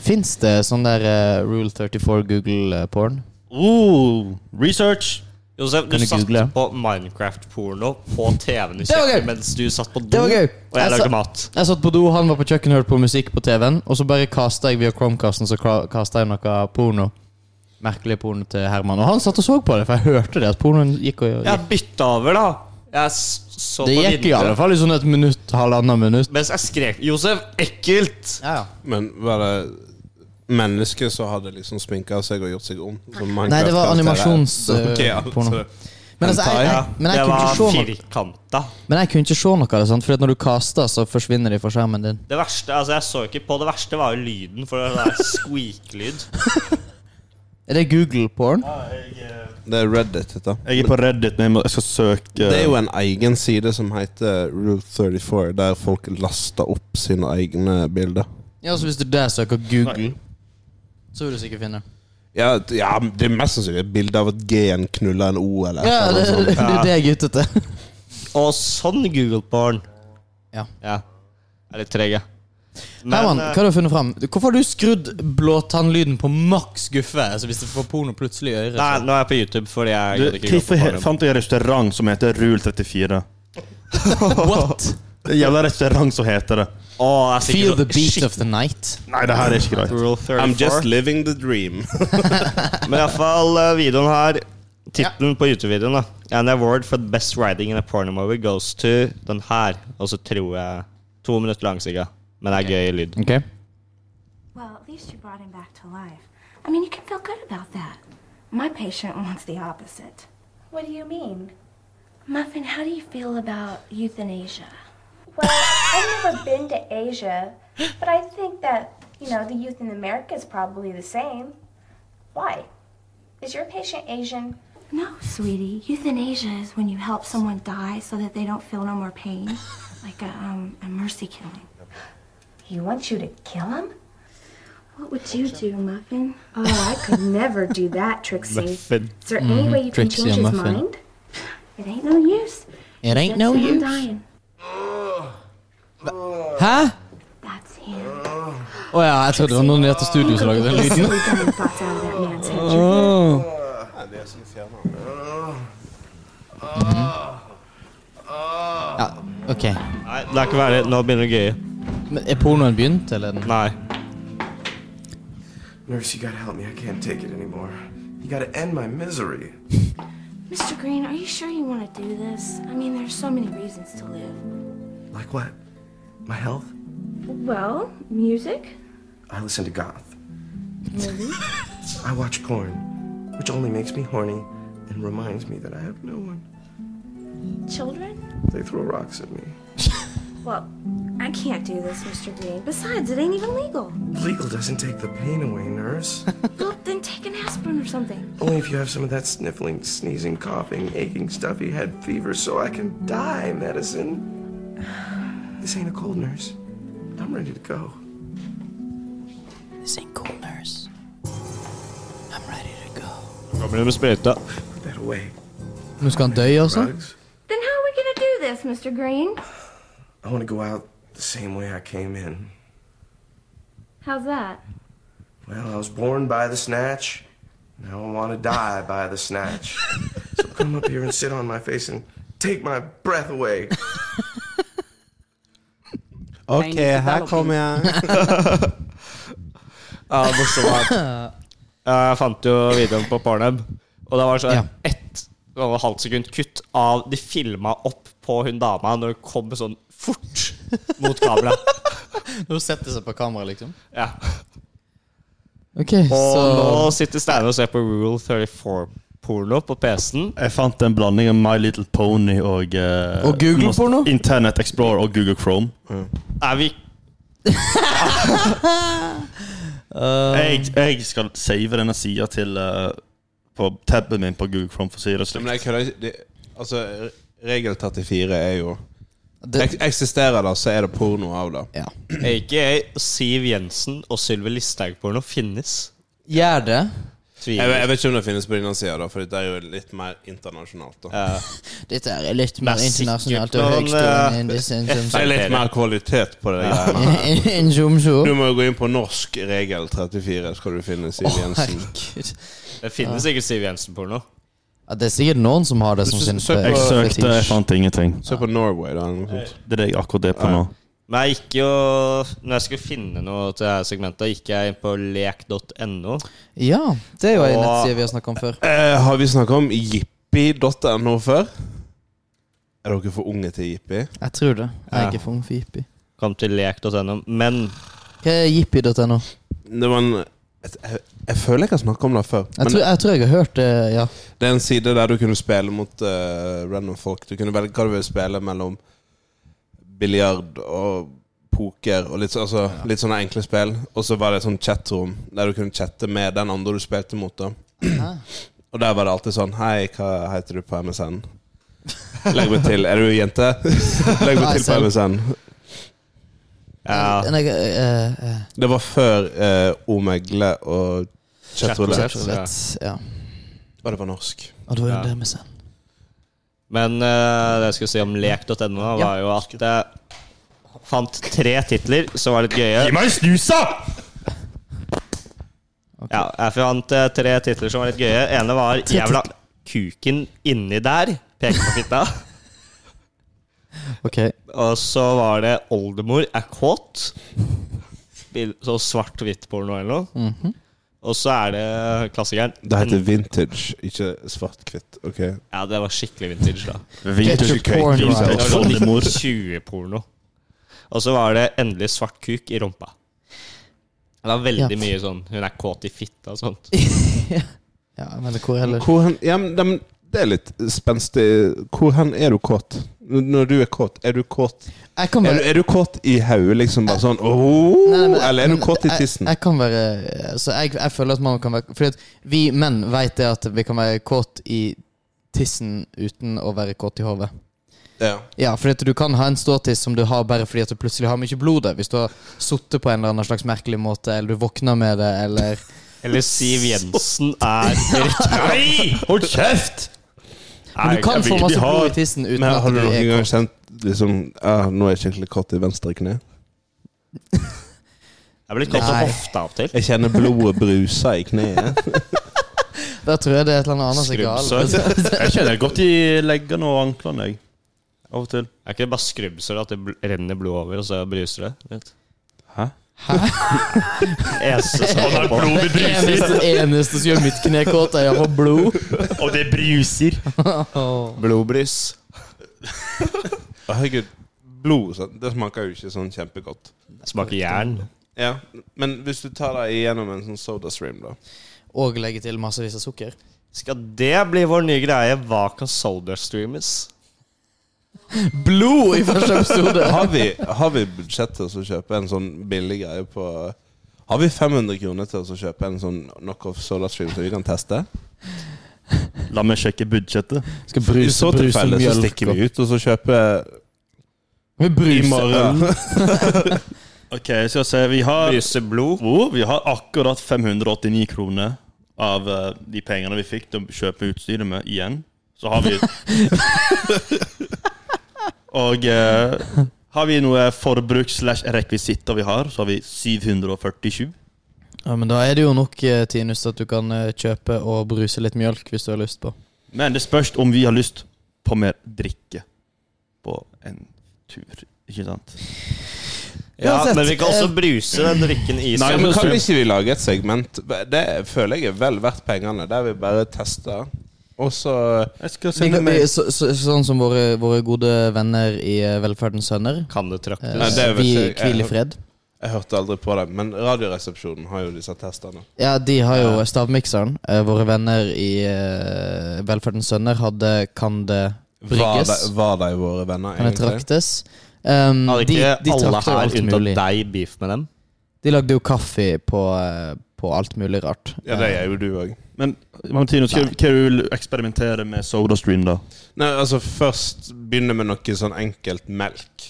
S2: Fins det sånn der eh, Rule eh, 34 Google-porn?
S1: Oh, research!
S3: Josef, du
S2: Kan du
S3: satt
S2: google?
S3: på Minecraft-porno på TV-en i
S2: Det var gøy.
S3: kjøkkenet mens du satt på do,
S2: Det var gøy. Altså-
S3: og jeg
S2: Jeg sa-
S3: lagde mat.
S2: Jeg satt på do, han var på kjøkkenet og hørte på musikk på TV-en, og så bare kasta jeg via Chromecasten så kasta jeg noe porno. Merkelig porno til Herman. Og han satt og så på det, for jeg hørte det. at pornoen gikk og gikk.
S3: Jeg bytta over, da. Jeg s- så
S2: Det
S3: på
S2: gikk i alle
S3: vinduet.
S2: fall i sånn et minutt, halvannet minutt.
S3: Mens jeg skrek 'Josef, ekkelt!'
S2: Ja, ja.
S4: Men var det mennesker som hadde liksom sminka seg og gjort seg om? Som
S2: Nei, det var
S4: Minecraft-karakterer? Ok, ja.
S2: animasjonsporno. Men, altså, jeg, jeg, men,
S3: Det
S2: jeg kunne
S3: var
S2: ikke se noe,
S3: firkanta.
S2: men jeg kunne ikke se noe av det, sant? for at når du kaster, så forsvinner de fra skjermen din.
S3: Det verste altså jeg så ikke på det verste, var jo lyden, for det er squeak-lyd.
S2: Er det Google-porn?
S4: Det er Reddit, dette.
S1: Jeg er på Reddit, men jeg må- jeg skal søke
S4: Det er jo en egen side som heter Rule 34, der folk laster opp sine egne bilder.
S2: Ja, så hvis du der søker Google, så vil du sikkert finne det.
S4: Ja, d- ja det er mest sannsynlig et bilde av at G-en knuller en O eller et
S2: Ja, det,
S4: eller
S2: det,
S4: annet
S2: det
S4: sånt.
S2: er sånn. det jeg er ute etter.
S3: Og sånn Google-porn.
S2: Ja.
S3: ja. Jeg er litt treg, jeg.
S2: Herman,
S3: eh,
S2: hva har du funnet fram? Hvorfor har du skrudd blåtannlyden på maks guffe? Altså hvis du får porno plutselig i øret?
S3: Nei, nå er jeg på YouTube fordi jeg
S1: Du,
S3: gadd ikke gå
S1: Hvorfor
S3: på
S1: he-
S3: porno.
S1: fant jeg en restaurant som heter Rule 34?
S2: What?
S1: Det er en jævla restaurant som heter det.
S3: Å, det er
S2: Feel
S3: sikkert
S2: the
S3: sånn
S2: beat
S3: shit
S2: of the night.
S1: Nei, det her er ikke greit.
S3: Rule
S4: I'm just
S3: 34.
S4: living the dream.
S3: Men iallfall eh, videoen her Tittelen på YouTube-videoen, da. An award for the best writing in a porno movie goes to den her. Og så tror jeg To minutter lang, sikkert. Men det er gøy lyd.
S2: Ok
S5: Well, at least you brought him back to life. I mean, you can feel good about that. My patient wants the opposite.
S6: What do you mean?
S5: Muffin, how do you feel about euthanasia?
S6: Well, I've never been to Asia, but I think that, you know, the youth in America is probably the same. Why? Is your patient Asian?
S5: No, sweetie. Euthanasia is when you help someone die so that they don't feel no more pain, like a, um, a mercy killing.
S6: He wants you to kill him?
S5: What would you do, Muffin?
S6: Oh, I could never do that, Trixie.
S3: Finn.
S6: Is there any way you can
S2: Mm-hmm. Trixie
S6: change
S2: and
S6: his
S2: Muffin.
S6: mind?
S5: It ain't no use.
S2: It ain't
S5: That's
S2: no
S5: him
S2: use.
S5: dying.
S2: Hæ?
S5: That's him.
S2: Å ja, jeg trodde det var noen i dette studio som lagde den
S6: Get
S2: lyden.
S6: silly dying thoughts out of that man's head.
S2: Ja, ok.
S3: Nei, det er ikke verdig. Nå begynner det gøye.
S2: Men er pornoen begynt, eller? er den-
S3: Nei.
S7: Nurse, you gotta help me. I can't take it anymore. You gotta end my misery.
S5: Mr. Green, are you sure you want to do this? I mean, there's so many reasons to live.
S7: Like what? My health?
S5: Well, music?
S7: I listen to goth. I watch porn, which only makes me horny and reminds me that I have no one.
S5: Children?
S7: They throw rocks at me.
S5: Well, I can't do this, Mr. Green. Besides, it ain't even legal.
S7: Legal doesn't take the pain away, nurse.
S5: Well, then take an aspirin or something.
S7: only if you have some of that sniffling, sneezing, coughing, aching, stuffy head fever so I can die medicine. This ain't a cold, nurse. I'm ready to go.
S8: This ain't cool, nurse. I'm ready to go.
S3: Kommer du med sprøyta?
S7: Put that away.
S2: Nå skal han dø, altså?
S7: Drugs?
S5: Then how are we going to do this, Mr. Green?
S7: I want to go out the same way I came in.
S5: How's that?
S7: Well, I was born by the snatch. Now I want to die by the snatch. So come up here and sit on my face and take my breath away.
S4: Ok, her kommer jeg.
S3: Ja, morsomt. Jeg fant jo videoen på Pornhub, og det var sånn
S2: Ja.
S3: ett og et halvt sekund kutt av De filma opp på hun dama når hun kom sånn fort mot kamera.
S2: Nå setter seg på kamera, liksom.
S3: Ja.
S2: Ok,
S3: Og nå
S2: så
S3: sitter Steinar og ser på Rule 34-porno på PC-en.
S1: Jeg fant en blanding av My Little Pony og eh,
S2: Og Google
S1: Most-
S2: porno?
S1: Internet Explorer og Google Chrome.
S3: Er vi
S1: Jeg, jeg skal save denne sida til eh, på tabben min på Google Chrome, for å si det
S4: Men
S1: slik.
S4: jeg kødder ikke. Det- Altså, regel 34 er jo
S2: det,
S4: Ek- Eksisterer det, så er det porno av det.
S2: ja.
S3: aka Siv Jensen og Sylvi Listhaug-porno finnes?
S2: Gjør det.
S4: Jeg,
S3: Tviler.
S4: jeg vet ikke om det finnes på denne sida, for dette er jo litt mer internasjonalt. Da.
S2: Dette er litt mer
S3: Det er sikkert
S2: internasjonalt og
S3: noen,
S2: høytstående
S3: eh,
S2: enn disse
S4: Det er
S2: enn
S4: litt mer kvalitet på det. greiene.
S2: som så.
S4: Du må jo gå inn på norsk regel 34, skal du finne Siv Jensen.
S2: Herregud.
S3: Det finnes ikke Siv Jensen-porno.
S2: Ja, det er sikkert noen som har det som
S4: Hvis du
S2: sin
S1: Jeg
S4: søker-
S2: fe-
S1: søkte, jeg fant ingenting.
S4: Se på Norway, da. Eller noe sånt.
S1: Det er det jeg akkurat er på nå.
S3: Men jeg gikk jo Når jeg skulle finne noe til dette segmentet, gikk jeg inn på lek.no.
S2: Ja, det er jo en
S3: Og-
S2: nettside vi har snakka om før.
S4: Eh, har vi snakka om jippi.no før? Er dere for unge til jippi?
S2: Jeg tror det. Jeg er ikke for ung for jippi.
S3: Kom til lek.no. Men
S2: Hva er jippi.no?
S4: Det var en jeg, jeg, jeg føler jeg har snakka om det før.
S2: Jeg,
S4: Men
S2: tror- jeg tror jeg har hørt det, ja.
S4: det er en side der du kunne spille mot eh, random folk. Du kunne velge hva du ville spille mellom biljard og poker og litt, så- altså, litt sånne enkle spill. Og så var det et sånt chatrom der du kunne chatte med den andre du spilte mot. da Og der var det alltid sånn Hei, hva heter du på MSN? Legg meg til. Er du jente? Legg meg til på MSN.
S3: ja,
S2: Men jeg, eh, eh,
S4: Det var før eh, Omegle og Chatroulette.
S2: jeg vet, ja.
S4: Og det var norsk.
S2: Og det var jo
S3: Ja.
S2: det med sen.
S3: men eh, det jeg skulle si om lek.no, var jo at jeg fant tre titler som var litt gøye.
S1: meg snusa!
S3: Ja, jeg fant eh, tre titler som var litt gøye. Ene var 'Jævla kuken inni der'. Pek på fitta.
S2: Ok.
S3: Og så var det 'Oldemor er kåt'. Bil- Så svart-hvitt-porno eller noe. Og så er det klassikeren
S4: Det heter vintage, ikke svart-hvitt. Ok
S3: Ja, det var skikkelig vintage, da.
S1: Vintage
S2: Get your porn
S1: vintage
S2: right.
S3: Det var sånn
S1: oldemor.
S3: 1920-porno. Og så var det endelig svart kuk i rumpa. Det var veldig
S2: Ja.
S3: mye sånn Hun er kåt i fitta og sånt.
S2: Ja, men hvor heller?
S4: Hvor hen, ja, men, dem- det er litt spenstig. Hvor hen er du kåt? N- Når du er kåt, er du kåt
S2: Jeg kan
S4: Er du,
S2: være
S4: er du kåt i hodet, liksom? Bare sånn åh,
S2: Nei, men-
S4: Eller er du
S2: men
S4: kåt i
S2: jeg-
S4: tissen?
S2: Jeg kan være Så jeg, jeg føler at man kan være Fordi at vi menn vet det at vi kan være kåt i tissen uten å være kåt i hodet.
S4: Ja.
S2: Ja, fordi at du kan ha en ståtiss som du har bare fordi at du plutselig har mye blod der. Hvis du har sittet på en eller annen slags merkelig måte, eller du våkner med det, eller
S3: Eller Siv Jensen er rett
S1: Nei! Hold kjeft!
S2: Men du kan
S1: jeg
S2: få
S1: vil-
S2: masse
S1: de har-
S2: blod i tissen uten
S4: Men
S2: at
S4: har du
S2: du
S4: noen
S2: er
S4: gang
S2: kåt.
S4: kjent liksom ah, Nå er jeg skikkelig kåt i venstre kne?
S3: Jeg blir kåt på
S2: Nei.
S3: hofta av og til.
S4: Jeg kjenner blodet brusa i kneet.
S2: Da tror jeg det er et eller annet annet som er galt.
S1: Skrubbsår. Jeg kjenner det godt i leggene og anklene, jeg. Av og til.
S3: Er ikke det bare skrubbsår at det bl renner blod over, og så bruser det litt?
S1: Hæ?
S3: Eneste som
S1: Og det er blod i bruser!
S2: Eneste, eneste som gjør mitt kne kåt, er å få blod.
S1: Og det bruser!
S4: Blodbrys. Herregud, blod sånn, det smaker jo ikke sånn kjempegodt.
S3: smaker jern.
S4: Ja, Men hvis du tar deg igjennom en sånn soda stream, da
S2: Og legge til massevis av sukker.
S3: Skal det bli vår nye greie? Hva kan Soldier streames?
S2: Blod i første episode!
S4: Har vi, har vi budsjett til å kjøpe en sånn billig greie på Har vi 500 kroner til å kjøpe en sånn knockoff soda stream som vi kan teste?
S1: La meg sjekke budsjettet.
S2: Skal
S4: I
S2: bruse,
S4: så
S2: bruse
S4: tilfelle så
S2: mjølk.
S4: stikker vi ut og så kjøper
S2: Vi
S4: I
S2: bruser
S4: morgen.
S1: Ok, skal vi se. Vi har,
S3: Bruser blod?
S1: oh, vi har akkurat 589 kroner av eh, de pengene vi fikk til å kjøpe utstyret med, igjen. Så har vi Og eh, har vi noe forbruk slash rekvisitter vi har, så har vi 747.
S2: Ja, men da er det jo nok, eh, Tinus, at du kan eh, kjøpe og bruse litt mjølk hvis du har lyst på.
S1: Men det spørs om vi har lyst på mer drikke på en tur, ikke sant?
S3: Ja,
S2: Uansett,
S3: men vi kan også
S2: eh,
S3: bruse den drikken i
S4: Nei,
S3: seg.
S4: men Kan ikke vi lage et segment Det føler jeg er vel verdt pengene, der vi bare tester. Og så
S1: Jeg skal
S2: vi,
S1: sende
S2: vi,
S1: meg
S2: så, så, Sånn som våre, våre gode venner i eh, Velferdens sønner.
S3: Kan det traktes?
S4: Nei, det
S2: Eh,
S4: er vel
S2: vi
S4: ikke- jeg-
S2: hviler i fred.
S4: Jeg hørte aldri på det, men Radioresepsjonen har jo disse testene.
S2: Ja, de har jo stavmikseren. Eh, våre venner i eh, Velferdens sønner hadde Kan det
S4: Var de,
S2: brygges?
S4: var de våre venner,
S2: Kan det
S4: egentlig?
S2: traktes? Um,
S3: Hadde
S2: de,
S3: ikke
S2: de
S3: alle
S2: trakte jo
S3: her
S2: alt
S3: unntatt
S2: mulig.
S3: deg beef med dem?
S2: De lagde jo kaffe på, eh, på alt mulig rart.
S4: Ja, det gjør jo du òg.
S1: Men Martino, hva hva vil du eksperimentere med SodaStream, da?
S4: Nei, altså Først begynne med noe sånn enkelt melk.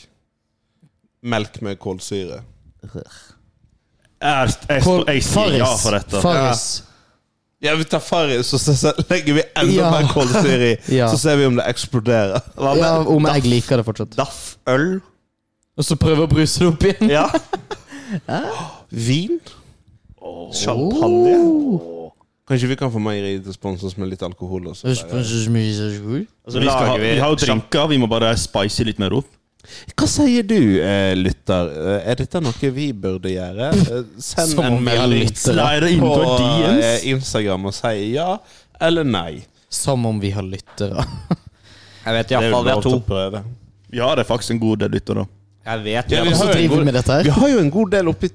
S4: Melk med kålsyre.
S1: Jeg, jeg,
S2: Kål-
S1: jeg sier ja for dette.
S2: Farris.
S4: Ja, vi tar Farris, og så så legger vi enda
S2: Ja.
S4: mer kålsyre i.
S2: Ja.
S4: Så ser vi om det eksploderer.
S3: Hva
S2: Ja, om jeg liker det fortsatt.
S3: Daff? Øl?
S2: Og så prøve å bruse det opp igjen.
S3: Ja.
S4: Vin?
S3: Champagne?
S4: Kanskje vi kan få meieriet til å sponse oss med litt alkohol? Også,
S3: Og
S1: Så
S3: så
S1: vi, skal ha,
S3: lager vi,
S1: vi har jo drinker, vi må bare spice litt mer opp.
S4: Hva sier du, eh, lytter? Eh, Er dette noe vi burde gjøre? Eh, Send
S2: Som
S4: en
S2: om vi har
S4: melding
S2: lyttere.
S1: Slide inn
S4: på
S1: på DMs.
S4: eh, Instagram og si ja eller nei.
S2: Som om vi har lyttere.
S3: Jeg vet iallfall
S4: lov
S3: vi har
S4: til
S3: to.
S4: å prøve.
S1: Vi har det faktisk en god del lyttere.
S3: Jeg vet
S4: Ja, vi
S3: vi har
S2: så
S4: har, jo en
S2: driver vi med
S4: god,
S2: dette
S4: vi
S2: her.
S4: har jo en god del oppe i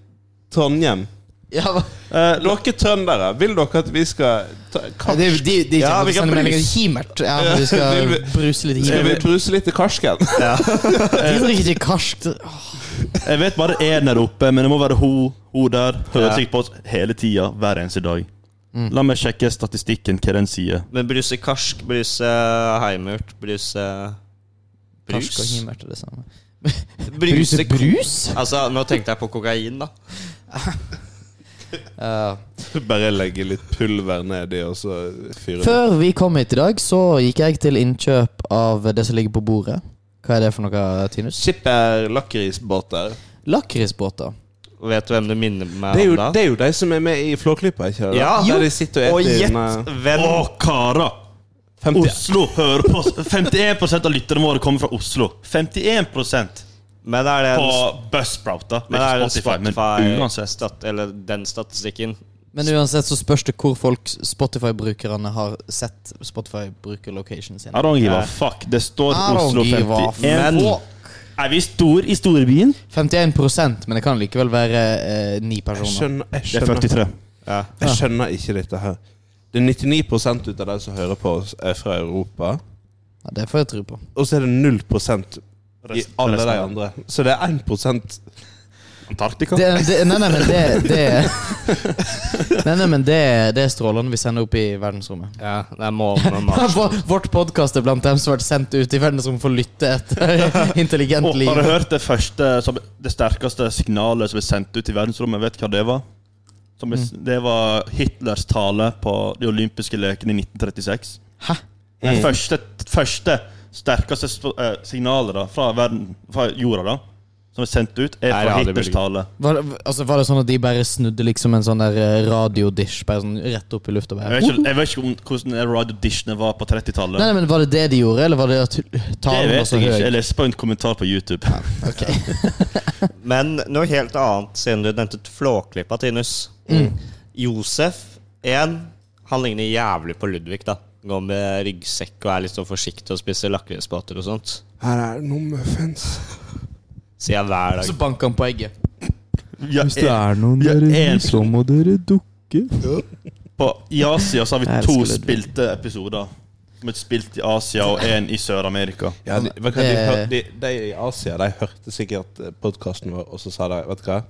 S4: Trondheim.
S2: Ja, hva-
S4: Eh, dere trøndere, vil dere at vi skal ta,
S2: Nei,
S4: kar-
S2: det, er- de, de, de,
S4: Ja, vi kan
S2: sender meldinger.
S4: bruse.
S2: Himert. Ja, vi skal
S4: Vil vi-
S2: bruse litt
S4: Skal vi Eh,
S2: himert.
S4: bruse litt i karsken?
S2: De drikker ikke karskt. Åh,
S1: Jeg vet bare én der oppe, men det må være hun, hun der. Hører sikkert på oss hele tida, hver eneste dag. La meg sjekke statistikken, hva den sier.
S3: Men bruse karsk, bruse heimurt, bruse
S2: Karsk og
S3: Brus?
S2: himert er det samme.
S3: Bruse
S2: brus?
S3: Altså, nå tenkte jeg på kokain, da.
S2: Ja.
S4: Bare legge litt pulver nedi, og så fyre det.
S2: Før vi kom hit i dag, så gikk jeg til innkjøp av det som ligger på bordet. Hva er det for noe, Tinus?
S4: Skipper lakrisbåter.
S2: Lakrisbåter.
S3: Vet du hvem du minner
S4: Det
S3: meg
S4: er, jo,
S3: om da?
S4: det er jo de som er med i Flåklypa, ikke sant?
S3: Ja.
S4: Der de sitter og
S3: Og
S4: eter
S3: gjett
S4: inn,
S1: Å,
S3: hvem
S1: Kara!
S4: 50.
S1: Oslo hører på oss. 51 av lytterne våre kommer fra Oslo. 51 på
S3: Men er det en,
S1: Buzzsprouta. Det
S3: men er
S1: er
S3: det
S1: ikke Spotify, men
S3: Spotify
S1: uansett.
S3: stat, Eller den statistikken?
S2: Men uansett så spørs det hvor folk Spotify-brukerne har sett Spotify-bruker-locationen sin.
S1: I don't give a fuck. Det står
S2: I don't
S1: Oslo
S2: give a
S1: 51.
S2: fuck.
S1: Er vi stor i storbyen?
S2: 51 men det kan likevel være eh, ni
S4: Jeg
S2: personer.
S4: skjønner, jeg,
S1: Det er
S4: skjønner,
S1: 43.
S3: Ja.
S4: jeg skjønner ikke dette her. Det er 99 ut av de som hører på oss, er fra Europa.
S2: Ja, det får jeg tro på.
S4: Og så er det 0 i
S1: Resten-
S4: alle
S1: resten
S4: de
S1: av
S4: andre. Så det er 1
S1: Antarktika?
S2: Det, det, nei, nei, men det, det Nei, nei, men det, det er strålene vi sender opp i verdensrommet.
S3: ja det er månen og Mars.
S2: Vår- Vårt podkast er blant dem som har vært sendt ut i verdensrommet for å lytte etter intelligent
S1: Å,
S2: liv.
S1: har du hørt det første som, Det sterkeste signalet som ble sendt ut i verdensrommet? Vet du hva det var? Som ble,
S2: Mm.
S1: Det var Hitlers tale på de olympiske lekene i 1936.
S2: Hæ?
S1: Det
S2: Mm.
S1: første, første sterkeste sp- eh, signalet da, fra, verden, fra jorda, da som er sendt ut, er
S3: Nei,
S1: fra
S3: ja, det blir
S1: Hitlers tale.
S2: Var, det- altså, var det sånn at de bare snudde liksom en sånn der eh, radiodish bare sånn rett opp i lufta? og
S1: Jeg
S2: Bare,
S1: vet ikke, jeg vet ikke om, hvordan Radio Dishene var på
S2: Nei,
S1: 30-tallet.
S2: nei, men Var det det de gjorde, eller var det at
S1: Det
S2: talen var
S1: vet
S2: så
S1: jeg ikke. Jeg
S2: høy?
S1: leste på en kommentar på YouTube.
S3: Men noe helt annet, siden du nevnte et flåklipp av Tinus. Josef 1, han ligner jævlig på Ludvig, da. Går med ryggsekk og er litt sånn forsiktig og spiser lakrisbåter og sånt.
S4: Her er det noen muffins.
S3: Sier jeg hver
S2: Så
S1: Altså-
S3: dag.
S2: banker han på egget.
S1: Ja,
S9: er noen
S1: Ja, en-
S9: må dere dukke.
S1: på, I Asia så har
S2: Jeg
S1: vi
S2: elsker
S1: to
S2: Ludvig.
S1: spilte episoder. Som et spilt i Asia og én i Sør-Amerika.
S4: Ja, de, vet du hva, de,
S2: Eh.
S4: hør- de, de i Asia de hørte sikkert podkasten vår, og så sa de Vet du hva?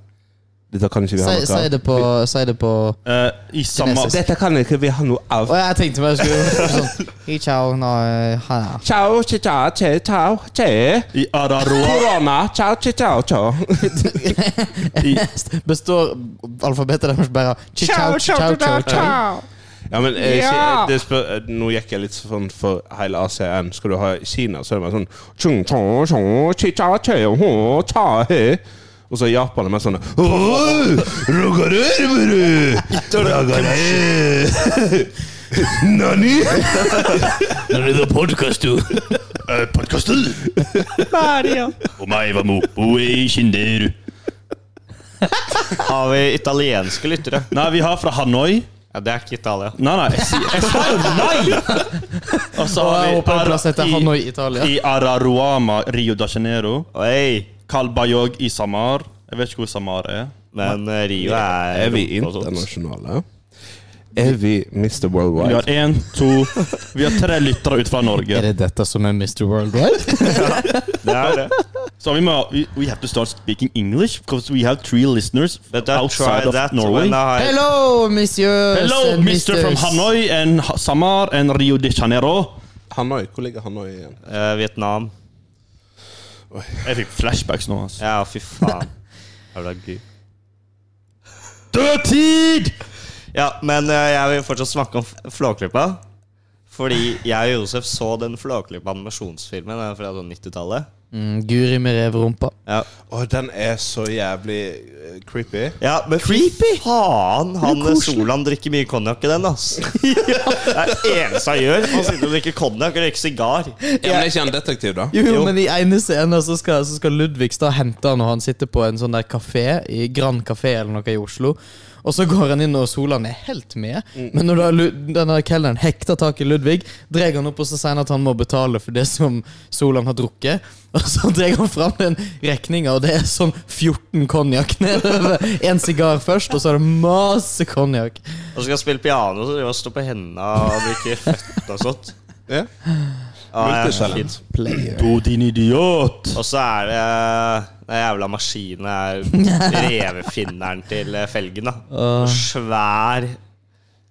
S4: Dette kan ikke vi ha
S2: Si,
S4: noe
S2: si
S4: av.
S2: det på Si det på
S1: Eh, I samme
S2: Kinesisk.
S4: Dette kan ikke vi ha noe av.
S2: Å, jeg tenkte bare jeg skulle sånn «Hei, Ciao, nå, eh, ha.
S4: Ciao, chi, ciao, chi, ciao, chi.
S1: I Araroa
S4: Corona, ciao, chi, ciao, ciao.
S1: i,
S2: Består alfabetet deres bare av «Chi, Ciao, ciao, ciao, ciao.
S4: Ja, men eh, ki- det spør, eh, Nå gikk jeg litt sånn for hele Asia igjen. Skal du ha i Kina, så er det mer sånn chung, chung, chung, chi, ciao, chi, ho, cha, he. Og så i Japan er det mer sånn «Åh, rogarururu, ragare, Nani?
S1: eh, podcasten. Omae wa mo oe shinderu.
S3: Har vi italienske lyttere?
S1: Nei, vi har fra Hanoi.
S3: Ja, det er ikke Italia.
S1: Nei, nei, jeg sier jeg sa jo nei! Og så
S2: Og
S1: har
S2: jeg
S1: vi
S2: håper en plass heter
S1: i-
S2: Hanoi, Italia.
S1: I Araruama, Rio de Janeiro.
S3: Oi!
S1: Kalbayog i Samar. Jeg vet ikke hvor Samar er.
S3: Men eh, Rio er
S4: Er vi
S3: rumpe og sånt.
S4: internasjonale? Er vi Mr. Worldwide?
S1: Vi har én, to Vi har tre lyttere ut fra Norge.
S2: Er det dette som er Mr. Worldwide?
S3: Det er det.
S1: So we, mo- we, we have to start speaking English because we have three listeners
S3: But I
S1: outside
S3: tried
S1: of
S3: that
S1: Norway.
S3: when I
S2: Hello, monsieur.
S1: Hello, Mr. from Hanoi and Ha- Samar and Rio de Janeiro.
S4: Hanoi, Hvor ligger Hanoi igjen?
S3: eh, Vietnam.
S1: Jeg fikk flashbacks nå. altså.
S3: Ja, fy faen. Jævla gud.
S1: Dødtid!
S3: Ja, men eh, jeg vil fortsatt snakke om f- Flåklypa. Fordi jeg og Josef så den Flåklypa animasjonsfilmen den er fra sånn 90-tallet.
S2: Mm, Guri med revrumpa.
S3: Ja.
S4: Å, den er så jævlig eh, creepy.
S3: ja, men Creepy! faen! Han Solan drikker mye konjakk i den, ass. Det er det eneste han gjør. Han sitter og drikker konjakk og røyker sigar.
S4: Ja, men Er ikke han detektiv, da?
S2: Jo, men i ene scenen så skal, så skal Ludvig da hente han, og han sitter på en sånn der kafé, i Grand Café eller noe i Oslo. Og så går han inn, og Solan er helt med. Men når da Lu- denne kelneren hekter tak i Ludvig, drar han opp og så sier han at han må betale for det som Solan har drukket. Og så drar han fram den regninga, og det er sånn 14 konjakk nedover. Én sigar først, og så er det masse konjakk.
S3: Og så skal han spille piano så driver han og stå på hendene og drikke fett og sånt.
S4: Ja.
S3: Ja, ja,
S4: Multitalent.
S3: fint.
S1: Du, din idiot!
S3: Og så er det den jævla maskinen er revefinneren til eh, Felgen, da. Svær.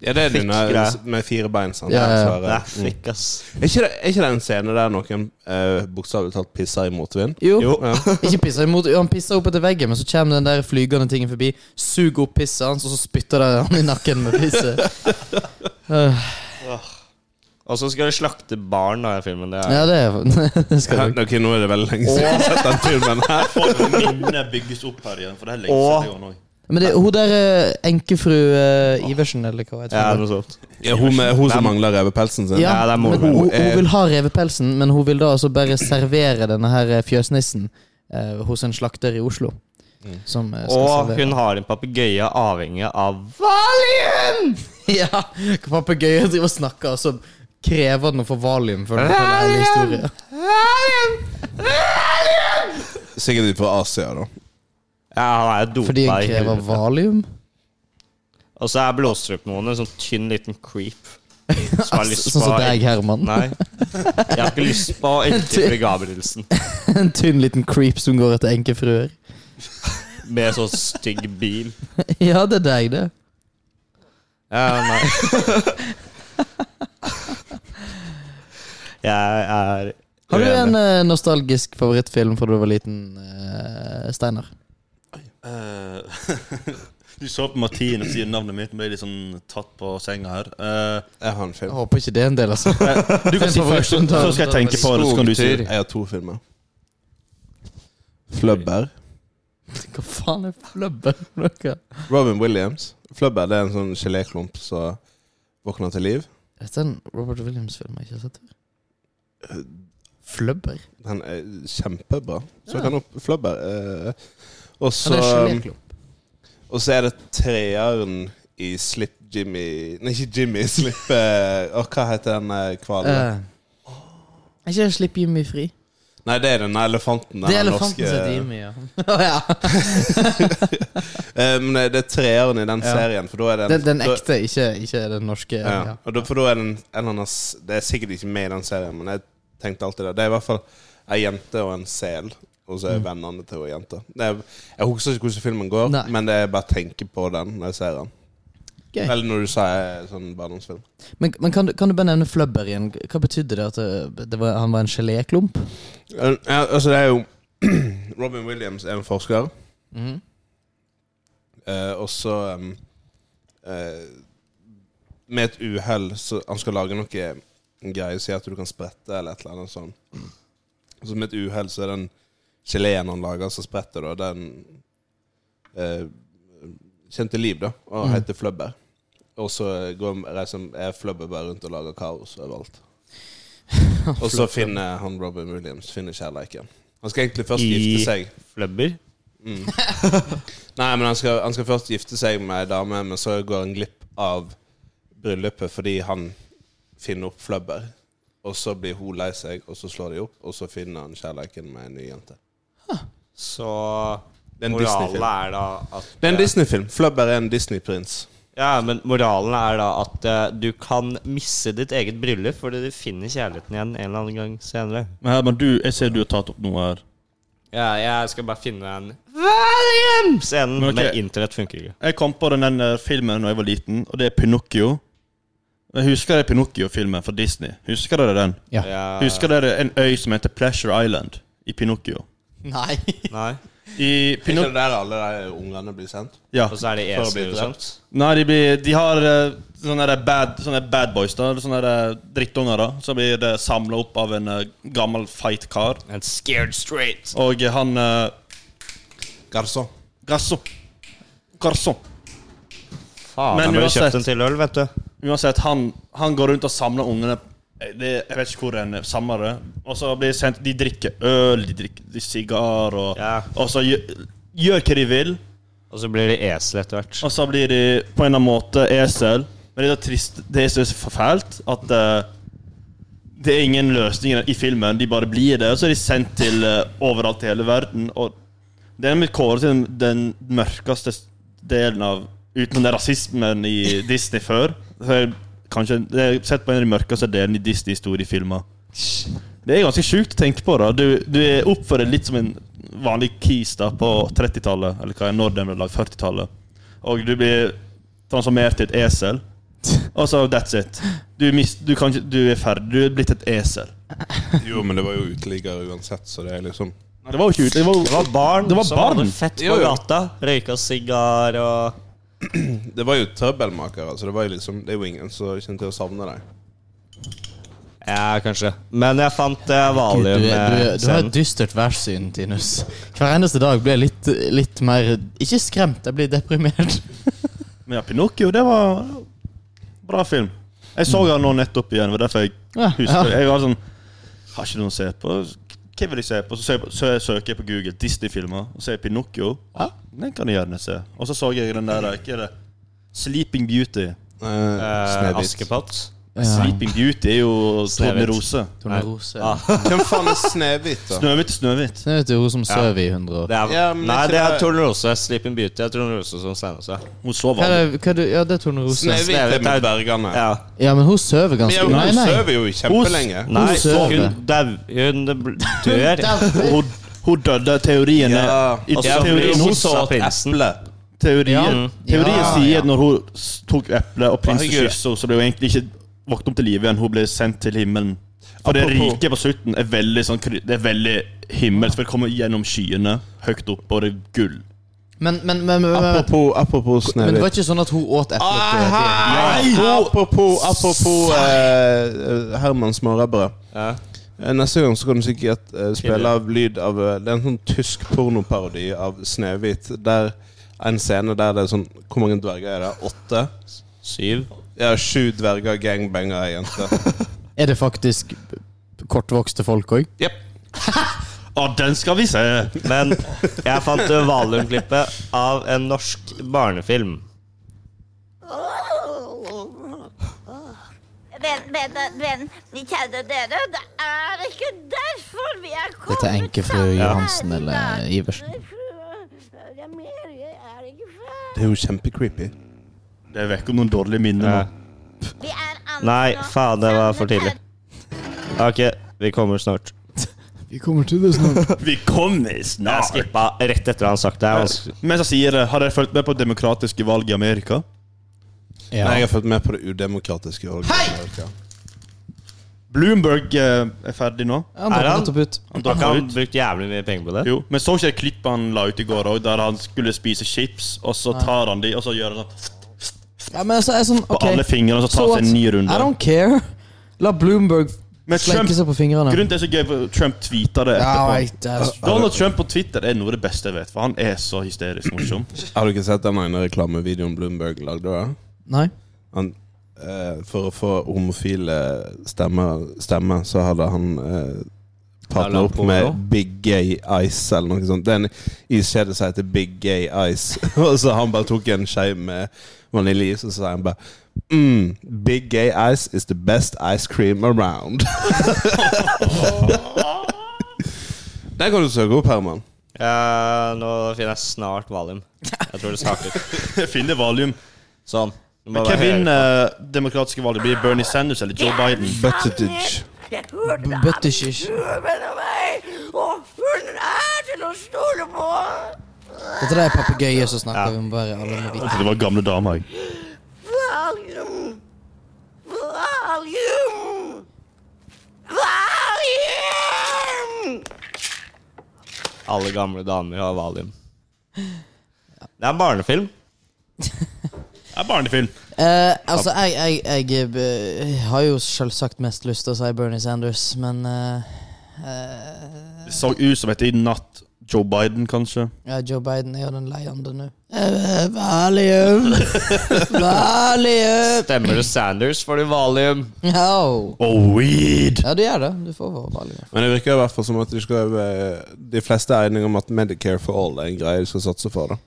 S4: Ja, det er den
S3: Fikk
S4: der
S3: greie.
S4: med fire bein. Sant?
S2: Ja, ja, ja.
S4: Svære.
S3: Det er frekk, ass.
S4: Er ikke det, er ikke det en scene der noen uh, bokstavelig talt pisser i motvind?
S2: Jo.
S3: Jo.
S2: Ikke pissa imot, han pisser opp etter veggen, men så kommer den der flygende tingen forbi, suger opp pisset hans, og så spytter det han i nakken med pisset.
S3: Og så skal de slakte barn da, i filmen. Det er.
S2: Ja, det, er- det
S4: Ja,
S2: skal du.
S4: Ok, nå er det veldig lenge siden jeg har sett den filmen her.
S1: Og minnet bygges opp her igjen, for det er lenge
S3: Og-
S1: siden jeg var nå.
S2: Men det, hun der eh, enkefru eh, Iversen, eller hva heter
S3: Ja,
S2: hun?
S3: noe sånt.
S4: Ja, hun, med, hun som mangler revepelsen sin.
S3: Ja, det er
S2: men
S3: moren
S2: hun,
S3: Eh, min.
S2: hun
S4: Hun er-
S2: vil ha revepelsen, men hun vil da altså bare servere denne her eh, fjøsnissen eh, hos en slakter i Oslo. Som eh, skal
S3: Og
S2: servere.
S3: Mm. hun har en papegøye avhengig av Valium!
S2: Ja! Papegøyen driver og snakker, og så krever den å få valium før den forteller hele historien.
S4: Sikkert ut fra Asia, da.
S3: Ja, han er jo dopa
S2: Fordi
S3: i
S2: den krever
S3: helvete.
S2: valium?
S3: Og så er blodstrupen noen en sånn tynn liten creep. Som har lyst
S2: Sånn som
S3: på
S2: deg, Herman.
S3: Nei. Jeg har ikke lyst på Enkefru Gabrielsen
S2: En tynn liten creep som går etter enkefruer.
S3: med sånn stygg bil.
S2: Ja, det er deg, det.
S3: Ja, nei. Jeg er
S2: Har du
S3: uenig.
S2: en eh, nostalgisk favorittfilm fra du var liten, eh, Steinar?
S1: Eh, du så på Martin og sier navnet mitt, og ble litt sånn tatt på senga her. Eh,
S4: Jeg har en film.
S2: håper ikke det er en del, altså.
S1: du kan si først,
S2: sånn
S1: så skal jeg tenke på det. Så kan du si
S4: Jeg har to filmer. Flubber
S2: Hva faen er flubben? for noe?
S4: Robin Williams. Flubber det er en sånn geléklump som våkner til liv.
S2: Dette er en Robert Williams-film jeg ikke har sett før. Flubber?
S4: Den er kjempebra. Så
S2: Ja.
S4: kan opp Flubber. Eh, og
S2: Ja,
S4: så um,
S2: det er geléklump.
S4: Og så er det treeren i Slipp Jimmy Nei, ikke Jimmy. Slipp eh, Åh, Hva heter den eh, hvalen?
S2: Eh, Er ikke det 'Slipp Jimmy fri'?
S4: Nei, det er den elefanten. Den
S2: det er
S4: her
S2: elefanten
S4: norske-
S2: som heter Jimmy, ja. Å, ja.
S4: Eh, men det er treeren i den
S2: Ja.
S4: serien, for da er det en-
S2: Den, den
S4: da-
S2: ekte, ikke, ikke den norske.
S4: Ja.
S2: Ja.
S4: Og da, for da er den en eller annen s- Det er sikkert ikke med i den serien, men jeg tenkte alltid det. Det er i hvert fall ei jente og en sel, og så er
S2: Mm.
S4: vennene til ei jente. Det er, jeg husker ikke hvordan filmen går,
S2: Nei.
S4: men det er bare å tenke på den når jeg ser den.
S2: Gøy.
S4: Eller når du sier sånn barndomsfilm.
S2: Men, men kan, du, kan du bare nevne flubber igjen? Hva betydde det at eh, det, det var, han var en geléklump?
S4: Ja, altså, det er jo Robin Williams er en forsker,
S2: Mhm.
S4: eh, og så em, eh, Med et uhell så Han skal lage noe greier som gjør at du kan sprette, eller et eller annet sånt. Så med et uhell så er den geleen han lager som spretter, da, den eh, kommer til liv, da, og heter Flubber. Og så går, reiser, er Flubber bare rundt og lager kaos overalt. Og så finner han Robin Williams Finner kjærleiken. Han skal egentlig først gifte seg.
S3: Flubber?
S4: Nei, men han skal, han skal først gifte seg med ei dame, men så går han glipp av bryllupet fordi han finner opp flubber. Og så blir hun lei seg, og så slår de opp, og så finner han kjærleiken med ei ny jente.
S3: Så
S4: Det er en
S3: moralen
S4: Disney-film.
S3: er da at
S4: Det er en Disney-film. Flubber er en Disney-prins.
S3: Ja, men moralen er da at eh, du kan misse ditt eget bryllup fordi du finner kjærligheten igjen en eller annen gang senere.
S1: Men Herman, du, jeg ser du har tatt opp noe her.
S3: Ja, jeg skal bare finne en Valium-scenen,
S1: Men ok.
S3: men internett funker ikke.
S1: Jeg kom på den der filmen da jeg var liten, og det er Pinocchio. Jeg husker det Pinocchio-filmen fra Disney. Husker dere den?
S2: Ja.
S3: Ja,
S1: Husker dere en øy som heter Pleasure Island i Pinocchio?
S2: Nei.
S3: Nei.
S1: I
S4: Er ikke
S1: Pinoc
S4: det der alle de ungene blir sendt?
S1: ja.
S3: Og så er det
S4: For å bli
S3: esel og sånt.
S1: Nei, de, blir, de har eh, sånne der bad, sånne bad boys, da. eller Sånne der drittunger, da. Som blir samla opp av en eh, gammel feit kar.
S3: And scared straight.
S1: Og eh, han eh,
S4: Garson.
S1: Grasso. Garson.
S3: Faen,
S1: Men
S3: jeg burde
S1: uansett-
S3: kjøpt en til øl, vet du.
S1: Uansett, han, han går rundt og samler ungene Eh, det, Jeg vet ikke hvor en samler det. Og så blir det sendt De drikker øl, de drikker de sigar, og,
S3: Ja.
S1: og så gjør, gjør hva de vil.
S3: Og så blir det esel etter hvert.
S1: Og så blir de på en eller annen måte esel. Men det er så trist Det er så forfælt at eh, det er ingen løsninger i filmen. De bare blir det. Og så er de sendt til eh, overalt i hele verden. Og det er blitt kåret til den, den mørkeste s- delen av Utenom den rasismen i Disney før. Så er det kanskje Det er sett på en av de mørkeste delene i Disney-historiefilmer. Det er ganske sjukt å tenke på. da Du, du er oppfører deg litt som en vanlig kis da på 30-tallet, eller hva er når den ble lagd, 40-tallet. Og du blir transformert til et esel. Og så that's it. Du, mis- du, kan, ikke- du er ferdig. Du er blitt et esel.
S4: Jo, men det var jo uteliggere uansett, så det er liksom
S1: Nei, det var jo ikke ut- det var-
S3: Det var barn
S1: Det var
S3: som
S1: barn.
S3: hadde fett på
S4: Jo, jo.
S3: gata. Røyka sigar og
S4: Det var jo trøbbelmakere, så det var jo liksom Det er jo ingen som kommer til å savne deg.
S3: Ja, kanskje. Men jeg fant uh,
S2: Du, er- du, er- du har
S3: valium-scenen.
S2: et dystert værsyn, Tinus. Hver eneste dag blir jeg litt, litt mer Ikke skremt, jeg blir deprimert.
S1: Men ja, Pinocchio, det var bra film. Jeg så den nå nettopp igjen, det var derfor jeg
S2: Mm. Ja,
S1: husker
S2: ja.
S1: Jeg var sånn Har ikke noen å se på? Hva vil jeg se på? Så, søker jeg på- så jeg søker jeg på Google Disney-filmer, og så er Pinocchio.
S2: Ja.
S1: Den kan jeg gjerne se. Og så så jeg den der Hva er det? Sleeping Beauty.
S4: Eh, Snehvit.
S3: Askepott.
S1: Sleeping Beauty er jo Torne
S3: Snehvit.
S1: Rose.
S2: Tornerose.
S3: Ah.
S4: Hvem faen er Snehvit, da?
S1: Snøhvit, Snøhvit.
S2: Det er jo hun som sover i 100 år.
S3: Det er,
S4: Ja, men
S3: nei,
S4: ikke
S3: det er
S4: det-
S3: Tornerose. Sleeping Beauty er Tornerose som steiner seg.
S1: Hun sover
S2: Hva
S1: aldri.
S2: er det, hva er det, ja, det er Tornerose.
S4: Snehvit er med dvergene.
S3: Ja.
S2: Ja, men hun sover
S4: Men
S2: ganske
S4: jeg,
S2: Nei,
S4: hun
S2: nei.
S4: sover jo kjempelenge.
S3: Nei,
S2: Hun sover.
S3: hun dau... Hun bl- dør.
S1: Hun, hun døde. Teorien er
S4: Ja.
S1: i
S3: Og så blir
S1: teorien,
S3: altså, hun
S1: Altså, hun
S3: hissa av prinsen.
S1: teorien,
S2: Ja.
S1: teorien
S2: Ja,
S1: sier
S2: ja.
S1: at når hun s- tok eplet og prinsen
S4: Herregud.
S1: kysset henne, så ble hun egentlig ikke våknet opp til live igjen. Hun ble sendt til himmelen. Og det
S4: Apropos-
S1: riket på slutten er veldig sånn kry- Det er veldig himmelsk. For det kommer gjennom skyene, høyt opp, og det er gull.
S2: Men, men, men, men, men,
S4: Apropos, apropos
S2: men det var
S4: Snehvit.
S2: ikke sånn at hun åt eplet til
S4: Apropos, apropos eh, eh, Herman Smårabberød.
S3: Ja.
S4: Eh, Neste gang så kan du sikkert eh, spille av lyd av eh, Det er en sånn tysk pornoparodi av Snøhvit. Der en scene der det er sånn Hvor mange dverger er det? Åtte?
S3: Syv.
S4: Ja, sju dverger gangbanger ei jente.
S2: Er det faktisk kortvokste folk òg?
S4: Jepp.
S1: Å, den skal vi se!
S3: Men jeg fant Valum-klippet av en norsk barnefilm.
S10: Men, men, men, kjære dere, det er ikke derfor vi er kommet
S2: Dette er enkefru
S10: sammen.
S2: Johansen eller Iversen.
S10: Jeg er mer, jeg er ikke ferdig.
S4: Det er jo kjempecreepy.
S1: Det vekker noen dårlige minner. nå.
S10: Vi er andre
S3: Nei,
S10: nå.
S3: faen, det var for
S10: Sammen
S3: tidlig. Ok, vi kommer snart.
S9: Vi kommer til det snart.
S1: Vi kommer
S3: Jeg
S1: snart!
S3: skippa rett etter han sagt det. er vanskelig.
S1: Mens jeg sier det, har dere fulgt med på demokratiske valg i Amerika?
S2: Ja.
S4: Nei, jeg har fulgt med på det udemokratiske. valget.
S1: Bloomberg eh, er ferdig nå.
S2: Ja, han
S3: Er han?
S2: dropper nettopp ut.
S1: Han
S3: Har ikke
S1: dropper
S3: han
S1: ut.
S3: brukt jævlig mye penger på det?
S1: Jo, men så ikke jeg klippet han la ut i går også, der han skulle spise chips, og så tar han de, og så gjør han sånn
S2: Ja, men altså, jeg er sånn,
S1: på
S2: ok.
S1: alle fingrene, og så tar
S2: So
S1: han seg en
S2: what?
S1: ny
S2: I
S1: runde.
S2: don't care. La Bloomberg
S1: Men Trump-
S2: slenke seg på fingrene.
S1: Grunnen til det er så gøy, for Trump tweeta det
S2: ja,
S1: etterpå.
S2: jeg, det er,
S1: Donald Trump på Twitter er noe av det beste jeg vet, for han er så hysterisk morsom.
S4: Har du ikke sett den ene reklamevideoen Bloomberg lagde? da?
S2: nei.
S4: Han, eh, for å få homofile stemmer, stemme, så hadde han eh,
S3: Hadde
S4: partna
S3: han
S4: opp
S3: porno?
S4: med Big Gay Ice eller noe sånt. Det er en iskjede som heter Big Gay Ice. og så han bare tok en skje med vaniljeis, og så sa han bare mm, Big Gay Ice is the best ice cream around. Den kan du søke opp, Herman.
S3: Ja, nå finner jeg snart Valium. Jeg tror det starter.
S1: Jeg finner valium.
S3: Sånn. Du må
S1: Hvem
S3: bare høre.
S1: vinner demokratiske valget? Blir det Bernie Sanders eller Joe Biden?
S4: Buttitage.
S10: Jeg hørte det
S2: Buttershish.
S10: andre mellom meg, og hun er til å stole på.
S2: Dette der er papegøyer som snakker. Vi må bare alle må vite.
S1: Det var gamle dama, jeg.
S10: Valium. Valium. Valium.
S3: Alle gamle damer har Valium. Det er en barnefilm.
S1: Det er barnefilm.
S2: Eh, altså, jeg, jeg, jeg, eh, har jo selvsagt mest lyst til å si Bernie Sanders, men eh,
S1: Det så ut som et i natt. Joe Biden, kanskje.
S2: ja, Joe Biden er jo den leiende nå. Eh, Valium! Valium!
S3: Stemmer det Sanders, får du Valium.
S2: Au.
S1: Oh, weed!
S2: Ja, du gjør det. Du får være valium.
S4: Men det virker i hvert fall som at de, skal, eh, de fleste er enige om at Medicare for all er en greie de skal satse for. da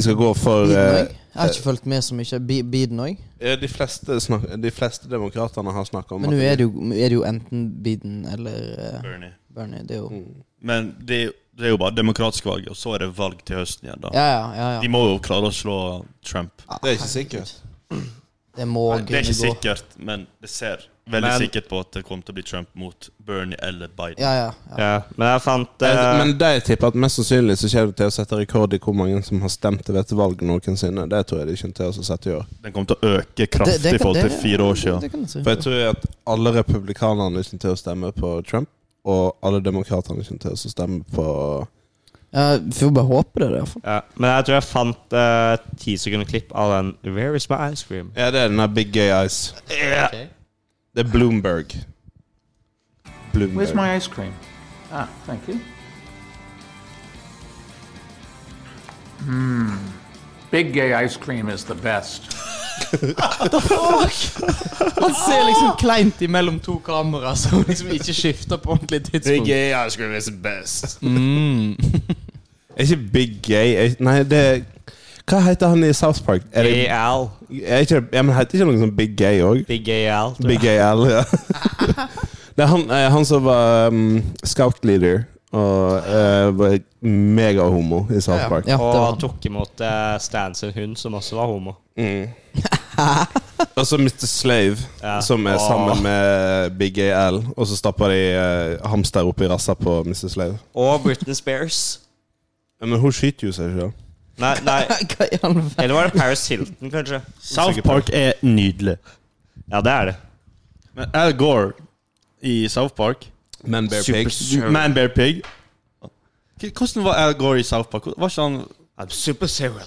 S4: De skal gå for
S2: Biden
S4: eh,
S2: òg? Jeg har ikke fulgt med så mye. Bi- Biden òg?
S4: ja, De fleste, snak, de fleste demokratene har snakka om
S2: Men nå
S4: at
S2: er det jo, er det jo enten Biden eller eh,
S1: Bernie.
S2: Bernie. Det er jo
S1: Men det, er jo- det er jo bare demokratisk valg, og så er det valg til høsten igjen, da.
S2: Ja, ja, ja.
S1: De
S2: ja.
S1: må jo klare å slå Trump.
S4: Det er ikke sikkert.
S2: Det må
S1: Det er
S2: kunne
S1: ikke
S2: gå.
S1: sikkert, men det ser veldig
S3: Men-
S1: sikkert på at det kommer til å bli Trump mot Bernie eller Biden.
S2: Ja, ja. ja.
S3: Ja, men jeg fant eh,
S4: Jeg- Men det jeg tipper at mest sannsynlig så kommer det til å sette rekord i hvor mange som har stemt ved et valg noensinne. Det tror jeg de kommer til å sette i år.
S1: Den kommer til å øke kraftig i forhold til fire år siden.
S2: Det kan jeg si.
S4: For jeg tror at alle republikanerne kommer til å stemme på Trump, og alle demokratene kommer til å stemme på
S2: Ja, vi får bare håpe det, i hvert fall.
S3: ja, Men jeg tror jeg fant eh, et ti sekunder klipp av den Where is my ice cream?
S4: Ja, det er den der Big Gay Eyes. Det er Bloomberg. Bloomberg.
S11: Where's my ice cream? Ah, thank you. Hmm. Hmm. Big gay ice cream is the best.
S2: Han ser liksom kleint imellom to kameraer som liksom ikke skifter på ordentlig tidspunkt.
S3: gay ice cream is best.
S4: Er ikke Big Gay er, Nei, det er Hva heter han i South Park? Er det,
S3: Gay Al.
S4: er ikke, ja, men heter ikke noe sånn Big Gay òg?
S3: Big Gay Al. tror jeg.
S4: Big Gay L, ja. Det er han, eh, han som var um, scout leader og eh, var megahomo i South
S2: Ja,
S4: Park.
S2: det var
S3: Og
S2: han.
S3: tok imot eh, Stan sin hund, som også var homo.
S4: Og så Mr. Slave,
S3: Ja.
S4: som er
S3: Åh.
S4: sammen med Big Gay L. Og så stapper de eh, hamster opp i rassa på Mr. Slave.
S3: Og Britney Spears.
S4: Ja, Men hun skyter jo seg sjøl.
S3: Nei, nei.
S2: Hva i all verden?
S3: Eller var det Paris Hilton, kanskje?
S1: South Park er nydelig.
S3: Ja, det er det.
S1: Men Al Gore i South Park
S4: Men Bear
S3: Super
S4: Pigs.
S3: Sure.
S1: Man Bear Pig K- Hvordan var Al Gore i South Park? Var ikke han
S3: I'm super serial.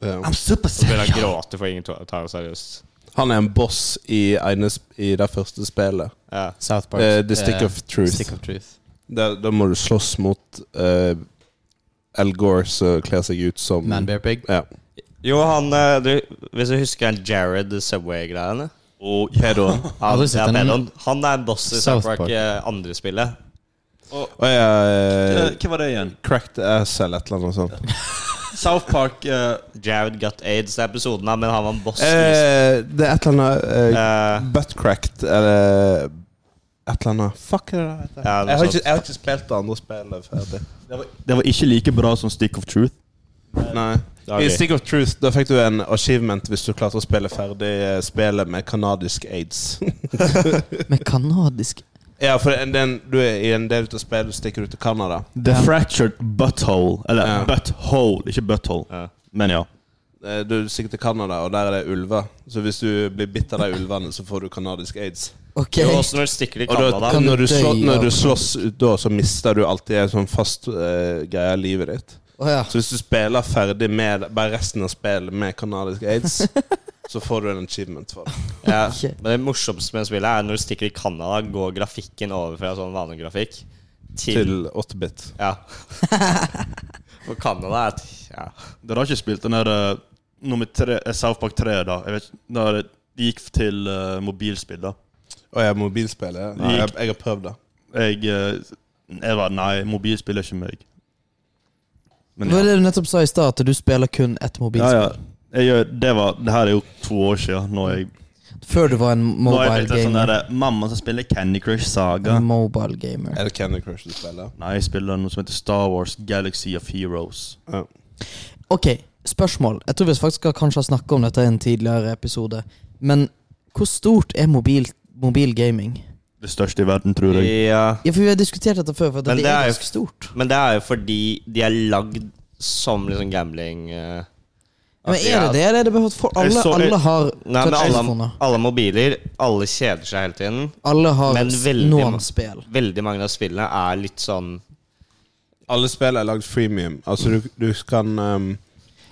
S4: Ja.
S1: I'm super
S3: Begynner å gråte for ingen tar det seriøst.
S4: Han er en boss i, ene, sp- i det første spillet.
S3: Ja.
S2: South Park.
S4: Eh, The Stick
S2: Eh,
S4: of Truth.
S2: Stick of Truth.
S4: Da, da må du slåss mot eh, Al Gore, som kler seg ut som
S2: Man Bear Pig.
S4: Ja.
S3: Jo, han eh, du, Hvis du husker han Jared Subway-greiene
S1: Og Oh, Pedon.
S3: Han,
S2: Aldri sett
S3: ja,
S2: den.
S3: Pedon. han er en boss i South
S2: South
S3: Park,
S2: Park.
S3: eh, andre spillet.
S4: Og jeg, eh,
S1: eh, Hva var det igjen?
S4: Cracked ass eller et eller annet sånt.
S1: South Park eh,
S3: Jared got aids i episoden, da, men han var en boss. i-
S4: Eh, det er et eller annet eh,
S3: Eh,
S4: Butt cracked eller et eller annet. Fuck er det det heter?
S3: Ja, noe
S4: jeg, har
S3: sånt.
S4: ikke, jeg har ikke spilt det andre spillet ferdig.
S1: Det var ikke like bra som Stick of Truth.
S4: Nei.
S3: Ok.
S4: I Stick of Truth da fikk du en achievement hvis du klarte å spille ferdig eh, spillet med kanadisk aids.
S2: Med kanadisk
S4: ja, for en, den, du er i en del av spillet stikker du til Canada.
S1: The Fractured Butthole. Eller
S4: Ja.
S1: Butthole, ikke Butthole.
S3: Ja.
S1: Men ja.
S4: Eh, Du stikker til Canada, og der er det ulver. Så hvis du blir bitt av de ulvene, så får du kanadisk aids.
S2: Ok.
S3: jo, også når du stikker til
S4: Og da,
S3: Canada.
S2: kan-
S4: når, du slå,
S2: dø av-
S4: når du slåss ut da, så mister du alltid en sånn fast eh, greie av livet ditt.
S2: Å ja.
S4: Så hvis du spiller ferdig med bare resten av spillet med kanadisk aids, så får du en achievement for det.
S3: Ja.
S2: Ok.
S3: Men det morsomste med spillet er når du stikker i Canada, går grafikken over fra sånn vanlig grafikk til,
S4: Til 8-bit.
S3: Ja. For Canada er et ja.
S1: Dere har ikke spilt den der eh, nummer tre, eh, South Park 3, da? Jeg vet, ikke, der det gikk til eh, mobilspill, da.
S4: Å ja, mobilspillet? Nei, jeg, jeg har prøvd det.
S1: Jeg, eh, jeg var Nei, mobilspill er ikke meg. Men
S2: Det var
S1: ja.
S2: det du nettopp sa i stad, at du spiller kun ett
S1: ja,
S2: mobilspill.
S1: ja. Jeg gjør, det, var, det her er jo to år siden. Når jeg,
S2: Før du var en
S1: når jeg blitt
S2: mobile
S1: en sånn
S2: gamer. Mm.
S1: derre Mamma som spiller Candy Crush Saga.
S2: En mobile gamer.
S4: Er det Candy Crush du spiller?
S1: Nei, jeg spiller noe som heter Star Wars Galaxy of Heroes.
S4: Ja.
S2: Ok, spørsmål. Jeg tror vi faktisk skal kanskje ha snakket om dette i en tidligere episode. Men hvor stort er mobil, mobil gaming?
S1: Det største i verden, tror jeg.
S3: ja.
S2: Ja, for Vi har diskutert dette før, for
S3: Men
S2: det,
S3: det er
S2: er
S3: jo-
S2: ganske stort.
S3: eh, Men det er jo fordi de er lagd som liksom gambling eh,
S2: Ja, men
S3: at de
S2: Er det det? Eller er det bare at for alle,
S1: Jeg så-
S2: alle har
S3: Nei, men alle,
S2: touchtelefoner?
S3: alle mobiler, alle kjeder seg hele tiden.
S2: Alle har
S3: Men
S2: s-
S3: veldig
S2: noen
S3: ma-
S2: spill.
S3: Veldig mange av spillene er litt sånn
S4: Alle spill er lagd freemium. Altså, du, du kan um,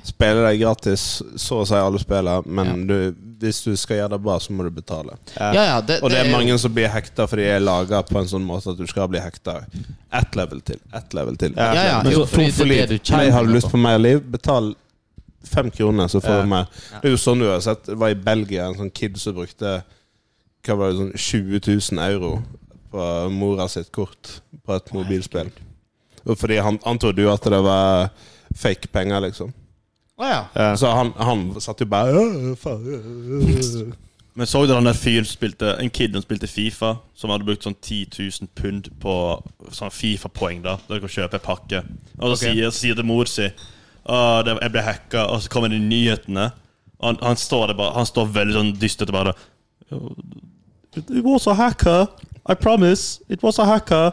S4: spille deg gratis, så å si alle spillene, men du, hvis du skal gjøre det bra, så må du betale.
S2: Ja, ja, det,
S4: Og det er
S2: jo-
S4: mange som blir hekta fordi de er laga på en sånn måte at du skal bli hekta. Ett level til, ett level til.
S2: Ja, ja,
S4: Men
S2: jo,
S4: så,
S2: fordi det er
S4: for
S2: det du
S4: liv.
S2: tjener
S4: Hei, har du
S2: på.
S4: lyst på mer liv? Betal fem kroner, så får
S3: Ja.
S4: du mer. Det er jo sånn du har sett. Det var i Belgia en sånn kid som brukte hva var det, sånn 20 000 euro på mora sitt kort på et mobilspill. Og fordi han antrodde jo at det var fake penger, liksom.
S2: Å ja.
S3: eh,
S4: Så han, han satt jo bare «Åh, faen, øh, øh».
S1: Men så dere han der fyren som spilte En kid som spilte Fifa, som hadde brukt sånn 10 000 pund på sånn Fifa-poeng, da. Der du kan kjøpe en pakke. Og så sier, så sier det mor si «Å, det, jeg ble hacka, og så kommer det i nyhetene. Og han, han, står der bare, han står veldig sånn dystert og bare It was a hacker. I promise. It was a hacker.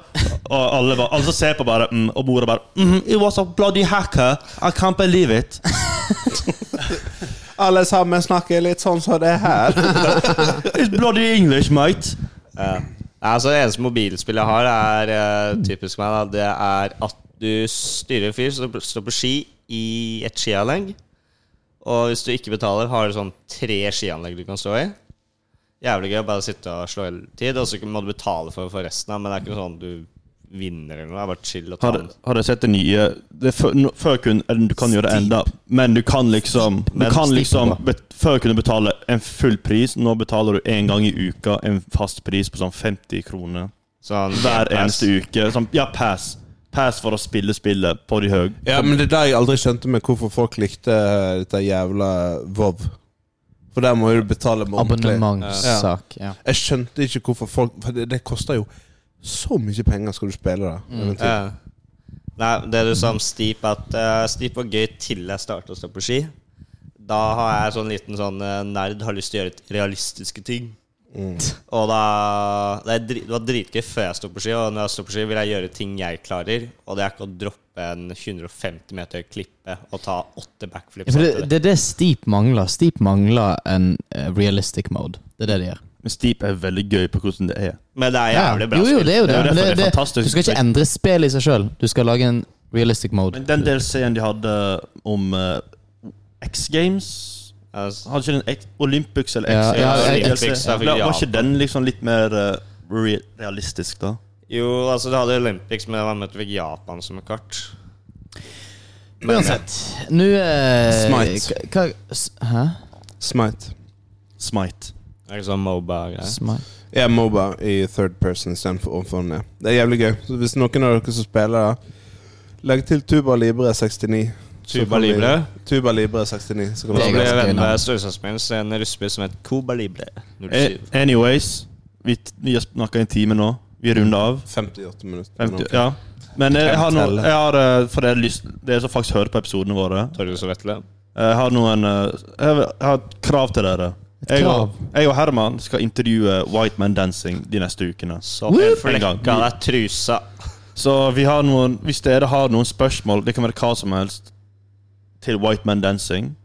S1: Og alle, bare, alle som ser på, bare mm, Og mora bare mm, It was a bloody hacker. I can't believe it.
S4: Alle sammen snakker litt sånn som det her.
S1: It's bloody English, mate.
S3: ja. Nei, Altså Det eneste mobilspillet jeg har, er eh, typisk meg. da Det er at du styrer en fyr som står på ski i et skianlegg. Og hvis du ikke betaler, har du sånn tre skianlegg du kan stå i. Jævlig gøy å bare sitte og slå hele tid. Og så må du betale for, for resten av, men det er ikke sånn du vinner eller noe. Det er bare chill og ta
S1: Har,
S3: den.
S1: har dere sett det nye det er før, nå- før kun, eller Du kan gjøre det enda, men du kan liksom, du
S3: Men
S1: kan
S3: steep
S1: liksom
S3: på.
S1: bet, Før kunne du betale en full pris. Nå betaler du en gang i uka en fast pris på sånn 50 kroner
S3: Sånn,
S1: hver eneste uke. Sånn, ja, pass. Pass for å spille spillet på de høy.
S4: Ja, men det er det jeg aldri skjønte med hvorfor folk likte eh, dette jævla Vov. For der må jo du betale med ordentlig.
S2: Abonnementssak. Ja.
S4: Jeg skjønte ikke hvorfor folk For det, det koster jo så mye penger skal du spille det. eventuelt.
S3: Mm, Ja. Nei, det du sa om steep, at eh, steep var gøy til jeg startet å stå på ski. Da har jeg sånn liten sånn eh, nerd har lyst til å gjøre litt realistiske ting.
S2: Mm.
S3: Og da det, er, dri- det var dritgøy før jeg sto på ski, og når jeg står på ski, vil jeg gjøre ting jeg klarer. Og det er ikke å droppe en 150 meter høy klippe og ta åtte
S2: Ja,
S3: backflips.
S2: for
S3: etter
S2: det,
S3: det.
S2: det er det Steep mangler. Steep mangler en eh, realistic mode. Det er det de gjør.
S1: Men Steep er veldig gøy på hvordan det er.
S3: Men det er jævlig bra
S2: jo, jo,
S3: spill.
S2: det er jo det.
S1: Det er jo
S2: men
S1: derfor
S2: det,
S1: det er
S2: det,
S1: fantastisk.
S2: du skal ikke endre spillet i seg sjøl. Du skal lage en realistic mode.
S1: Men den DLC-en de hadde om eh, X Games
S3: Altså,
S1: Hadde ikke den X- Olympics eller
S2: Ja,
S1: X?
S2: ja,
S1: eller
S2: Olympics,
S1: DLC?
S3: da fikk
S1: Var- Var
S3: Japan.
S1: ikke den liksom litt mer eh, re realistisk, da?
S3: Jo, altså du hadde Olympics, men han møtte vel Japan som et kart. Men-
S2: Uansett. Nå eh,
S3: Smite.
S2: hva- Hva, s- hæ?
S4: Smite.
S1: Smite.
S3: Er det sånn Moba-greier?
S2: Smite.
S4: Ja, Moba i third person istedenfor ovenfor. Det er jævlig gøy. Så hvis noen av dere som spiller, legg til Tuba Libre 69. så
S3: Tuba
S4: kan vi-
S3: Libre?
S4: Tuba Libre 69. Så kan
S3: Da
S4: vi-
S3: ble jeg venn med storesøsteren min, så en rusper som het Cuba Libre. 07.
S1: Eh, Anyways, vi, t- vi har snakka i en time nå. Vi runder av.
S4: 58 minutter.
S1: 50, ja. Men jeg har, noe, jeg har eh, For dere, lyst, dere som faktisk hører på episodene våre Jeg har noen eh, Jeg har- jeg har et krav til dere. Jeg
S2: krav?
S1: og, jeg og Herman skal intervjue White Man Dancing de neste ukene.
S3: Så jeg flekka deg trusa.
S1: Så vi har noen, hvis dere har noen spørsmål, det kan være hva som helst, til White Man Dancing,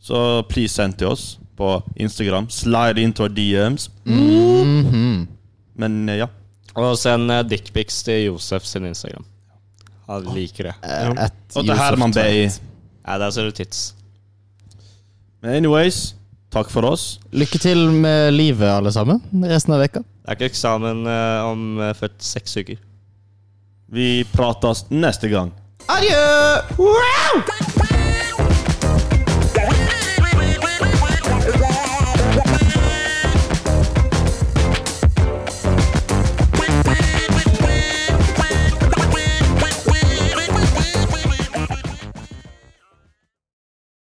S1: så please send til oss på Instagram. Slide into our DMs. Men eh, ja.
S3: Og send eh, dickpics til Josef sin Instagram. Han liker det.
S2: Eh.
S1: Ja. at Og til Josef Herman Bay. Tveit.
S3: Nei, det er så det tits.
S1: Men anyways, takk for oss.
S2: Lykke til med livet, alle sammen. Resten av veka.
S3: Det er ikke eksamen eh, om eh, 46 uker.
S1: Vi prates neste gang.
S2: Adjø! Wow!